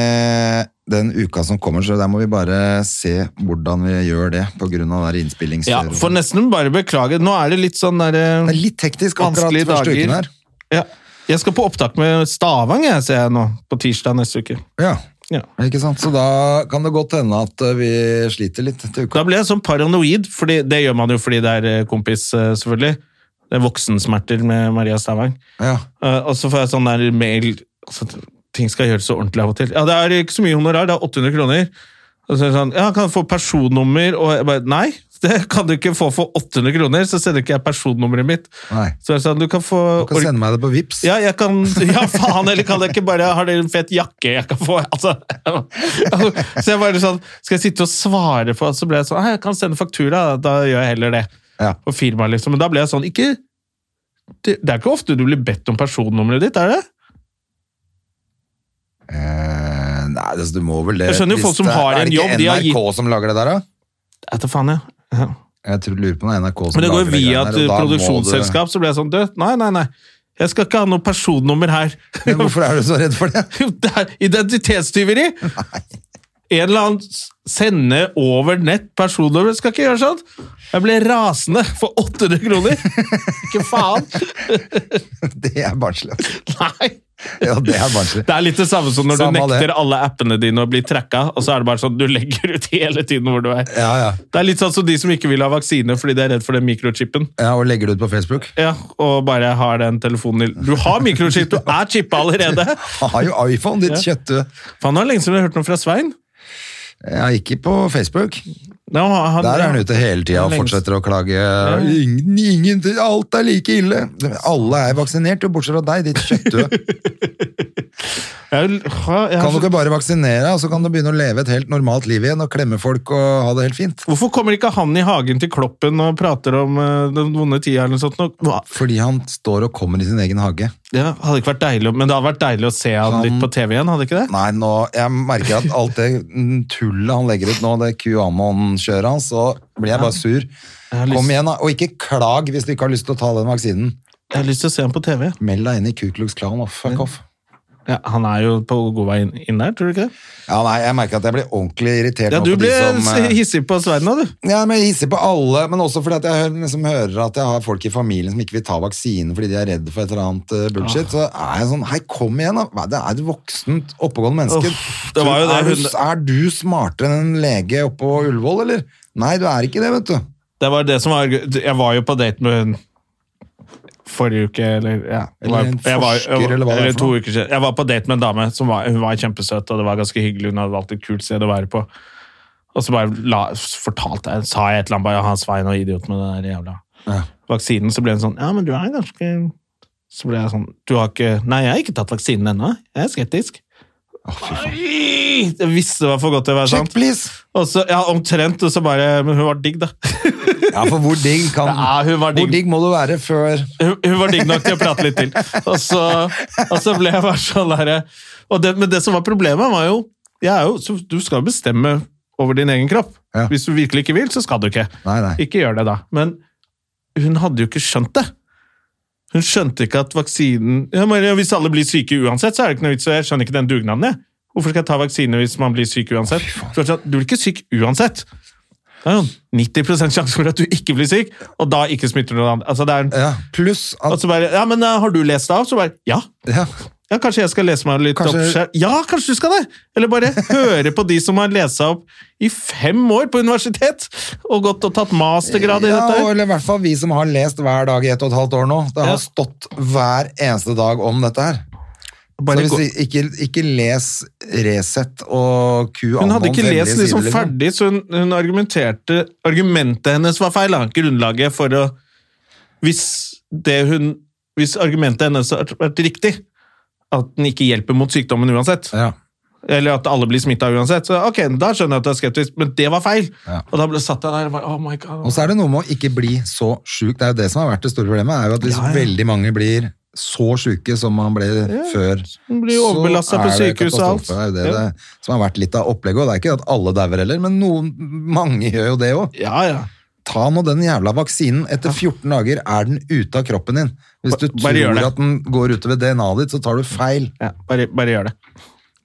med den uka som kommer, så der må vi bare se hvordan vi gjør det, på grunn av det
ja,
innspillingskjøret.
får nesten bare beklage. Nå er det litt sånn derre
det er litt hektisk akkurat
Vanskelige
første
dager.
uken her.
ja. Jeg skal på opptak med Stavang, jeg, ser jeg nå, på tirsdag neste uke.
Ja,
Ja.
ikke sant? Så da kan det godt hende at eh, vi sliter litt etter uka.
Da ble jeg sånn paranoid, fordi det gjør man jo fordi det er eh, kompis, eh, selvfølgelig. Det er voksensmerter med Maria Stavang.
Ja.
Eh, Og så får jeg sånn der mail altså, Ting skal gjøres så ordentlig av og til. Ja, det er ikke så mye honorar, det er 800 kroner. Og så er det sånn, ja, kan jeg få personnummer? Og jeg bare, nei, det kan du ikke få for 800 kroner, så sender ikke jeg personnummeret mitt.
Nei.
Så jeg sa, du kan få...
Du kan sende meg det på Vips.
Ja, jeg kan Ja, faen, eller kan jeg ikke bare Har dere en fet jakke jeg kan få? Altså, så jeg bare sånn Skal jeg sitte og svare på Så ble jeg sånn «Nei, Jeg kan sende faktura, da gjør jeg heller det.
Ja.
På firmaet, liksom. Men da ble jeg sånn Ikke Det det er ikke ofte du blir bedt om personnummeret ditt, er det?
Eh, nei, altså, du må vel det.
Jeg skjønner jo
Hvis
folk som
det-
har en
Er det
jobb,
ikke
de har
NRK som lager det der, da?
Jeg vet da faen, jeg. Ja.
Jeg tror, lurer på om det er NRK som
Men det går
lager
jo
det
via
greiene
et eh,
der, og da må
produksjonsselskap, så ble jeg sånn Du, nei, nei, nei. Jeg skal ikke ha noe personnummer her.
Du... Men hvorfor er du så redd for det?
Jo, det er identitetstyveri! En eller annen s- sende over nett personnummer skal ikke gjøre sånt. Jeg ble rasende for 800 kroner! Ikke faen!
Det er barnslig. altså.
Nei!
Ja, det er barnslig.
Det er litt det samme som når
Samme
du
av det.
nekter alle appene dine å bli tracka, og så er det bare sånn du legger ut hele tiden hvor du er.
Ja, ja.
Det er litt sånn som de som ikke vil ha vaksine fordi de er redd for den mikrochipen.
ja, og legger det ut på Facebook.
Ja, og bare har den telefonen i Du har mikrochip, du er chippa allerede!
Har jo iPhone, ditt kjøttu.
Faen, det er lenge siden vi har hørt noe fra Svein.
Ja, ikke på Facebook.
Ja, han-
Der er han ute hele tida og
Lengst.
fortsetter å klage. Ingen, ingen, alt er like ille! Alle er vaksinert, jo, bortsett fra deg, ditt kjøttu.
Jeg, jeg, jeg,
Kan du ikke bare vaksinere deg, og så kan du begynne å leve et helt normalt liv igjen og klemme folk og ha det helt fint?
Hvorfor kommer ikke han i hagen til Kloppen og prater om eh, den vonde tida eller noe sånt? nå? Hva?
Fordi han står og kommer i sin egen hage.
Det hadde ikke vært deilig, å- men det hadde vært deilig å se han
Han-
litt på TV igjen, hadde ikke det?
Nei, nå, jeg merker at alt det tullet han legger ut nå, det QAnon-kjøret hans, så blir jeg bare sur.
har lyst-
Kom igjen, da. Og ikke klag hvis du ikke har lyst til å ta den vaksinen.
Jeg har lyst til å se han på TV.
Meld deg inn i Ku Klux Klan og
Mm.
fuck off.
Ja, han er jo på god vei inn, inn der, tror du ikke det?
Ja, nei, jeg merker at jeg blir ordentlig irritert
Ja,
nå
du
på
ble
de som eh,
hissig på Svein nå, du.
Ja, men jeg hisser på alle, men også fordi at jeg hører, liksom, hører at jeg har folk i familien som ikke vil ta vaksinen fordi de er redde for et eller annet eh, bullshit. Så er jeg sånn Hei, kom igjen, da! Hva- Det er et voksent, oppegående menneske.
Uff, det var jo det
er, du,
hun-
er du smartere enn en lege oppe på Ullevål, eller? Nei, du er ikke det, vet du.
Det var det som var Jeg var jo på date med hun forrige uke, eller ja. det var-
Eller en forsker, eller hva det er for
to
noe.
uker siden. Jeg var på date med en dame som var, hun var kjempesøt, og det var ganske hyggelig. Hun hadde valgt et kult sted å være på. Og så bare la, fortalte jeg, sa jeg et eller annet bare, ja, han Svein og idiot med den der jævla
Ja.
vaksinen. Så ble hun sånn, ja, men du er ganske Så ble jeg sånn, du har ikke Nei, jeg har ikke tatt vaksinen ennå. Jeg er skeptisk. Oi, Jeg visste det var for godt til å være
Check,
sant.
please!
Og så, ja, omtrent, og så bare Men hun var digg, da.
Ja, for hvor digg kan
Ja, hun var digg.
Hvor digg må du være før
hun, hun var digg nok til å prate litt til. Og så, og så ble jeg bare sånn der og det, Men det som var problemet, var jo, jeg er jo så Du skal jo bestemme over din egen kropp.
Ja.
Hvis du virkelig ikke vil, så skal du ikke.
Nei, nei.
Ikke gjør det, da. Men hun hadde jo ikke skjønt det. Hun skjønte ikke at vaksinen ja, men Hvis alle blir syke uansett, så er det ikke noe vits. og Jeg skjønner ikke den dugnaden, jeg. Hvorfor skal jeg ta vaksine hvis man blir syk uansett? Så jeg sa, Du blir ikke syk uansett. Det er jo 90 sjanse for at du ikke blir syk, og da ikke smitter noen andre. Altså, det er en
Ja, pluss
og
at
så bare, ja, men eh, har du lest det av? Så bare, ja.
ja,
Ja, kanskje jeg skal lese meg litt
Kanskje-
opp selv. Ja, kanskje du skal det! Eller bare høre på de som har lest seg opp i fem år på universitet, og gått og tatt mastergrad i
ja,
dette her.
eller i hvert fall vi som har lest hver dag i ett og et halvt år nå. Det har
Ja.
stått hver eneste dag om dette her. Så
Bare
hvis
gå-
vi- ikke, ikke les Resett og QAnon
Hun hadde ikke
veldig
lest liksom
sider, liksom.
ferdig, så hun, hun argumenterte Argumentet hennes var feil, da. Grunnlaget for å Hvis det hun Hvis argumentet hennes hadde vært riktig, at den ikke hjelper mot sykdommen uansett,
Ja.
Eller at alle blir smitta uansett. Så ok, da skjønner jeg at du er skeptisk, men det var feil.
Ja.
Og da ble satt jeg der og bare, oh my god.
Og så er det noe med å ikke bli så sjuk. Det er jo det som har vært det store problemet. er jo at Hvis veldig mange blir så sjuke som man ble før,
blir jo overbelastet på sykehus og alt.
katastrofe. Det er jo det,
Ja.
det som har vært litt av opplegget. Og det er ikke at alle dauer heller, men noen, mange gjør jo det òg.
Ja, ja.
Ta nå den jævla vaksinen. Etter 14 dager er den ute av kroppen din. Hvis du
Ba- bare gjør
tror
det.
at den går utover DNA-et ditt, så tar du feil.
ja bare, bare gjør det.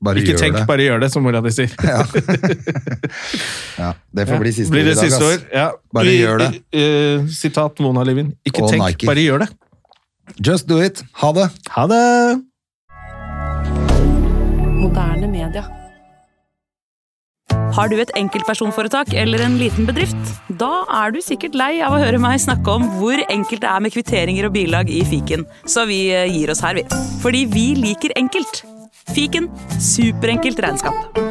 Bare
ikke
gjør
tenk,
det.
bare gjør det, som mora di sier.
Ja, det får bli siste
Blir
ord i
det
dag,
siste
ass.
ord? Ja.
Bare
Vi-
gjør det.
eh, sitat Mona Livin. Ikke
Og
tenk,
Nike.
bare gjør det.
Just do it. Ha det.
Ha det!
Moderne media.
Har du et enkeltpersonforetak eller en liten bedrift? Da er du sikkert lei av å høre meg snakke om hvor enkelt det er med kvitteringer og bilag i fiken, så vi eh, gir oss her, vi. Fordi vi liker enkelt. Fiken superenkelt regnskap.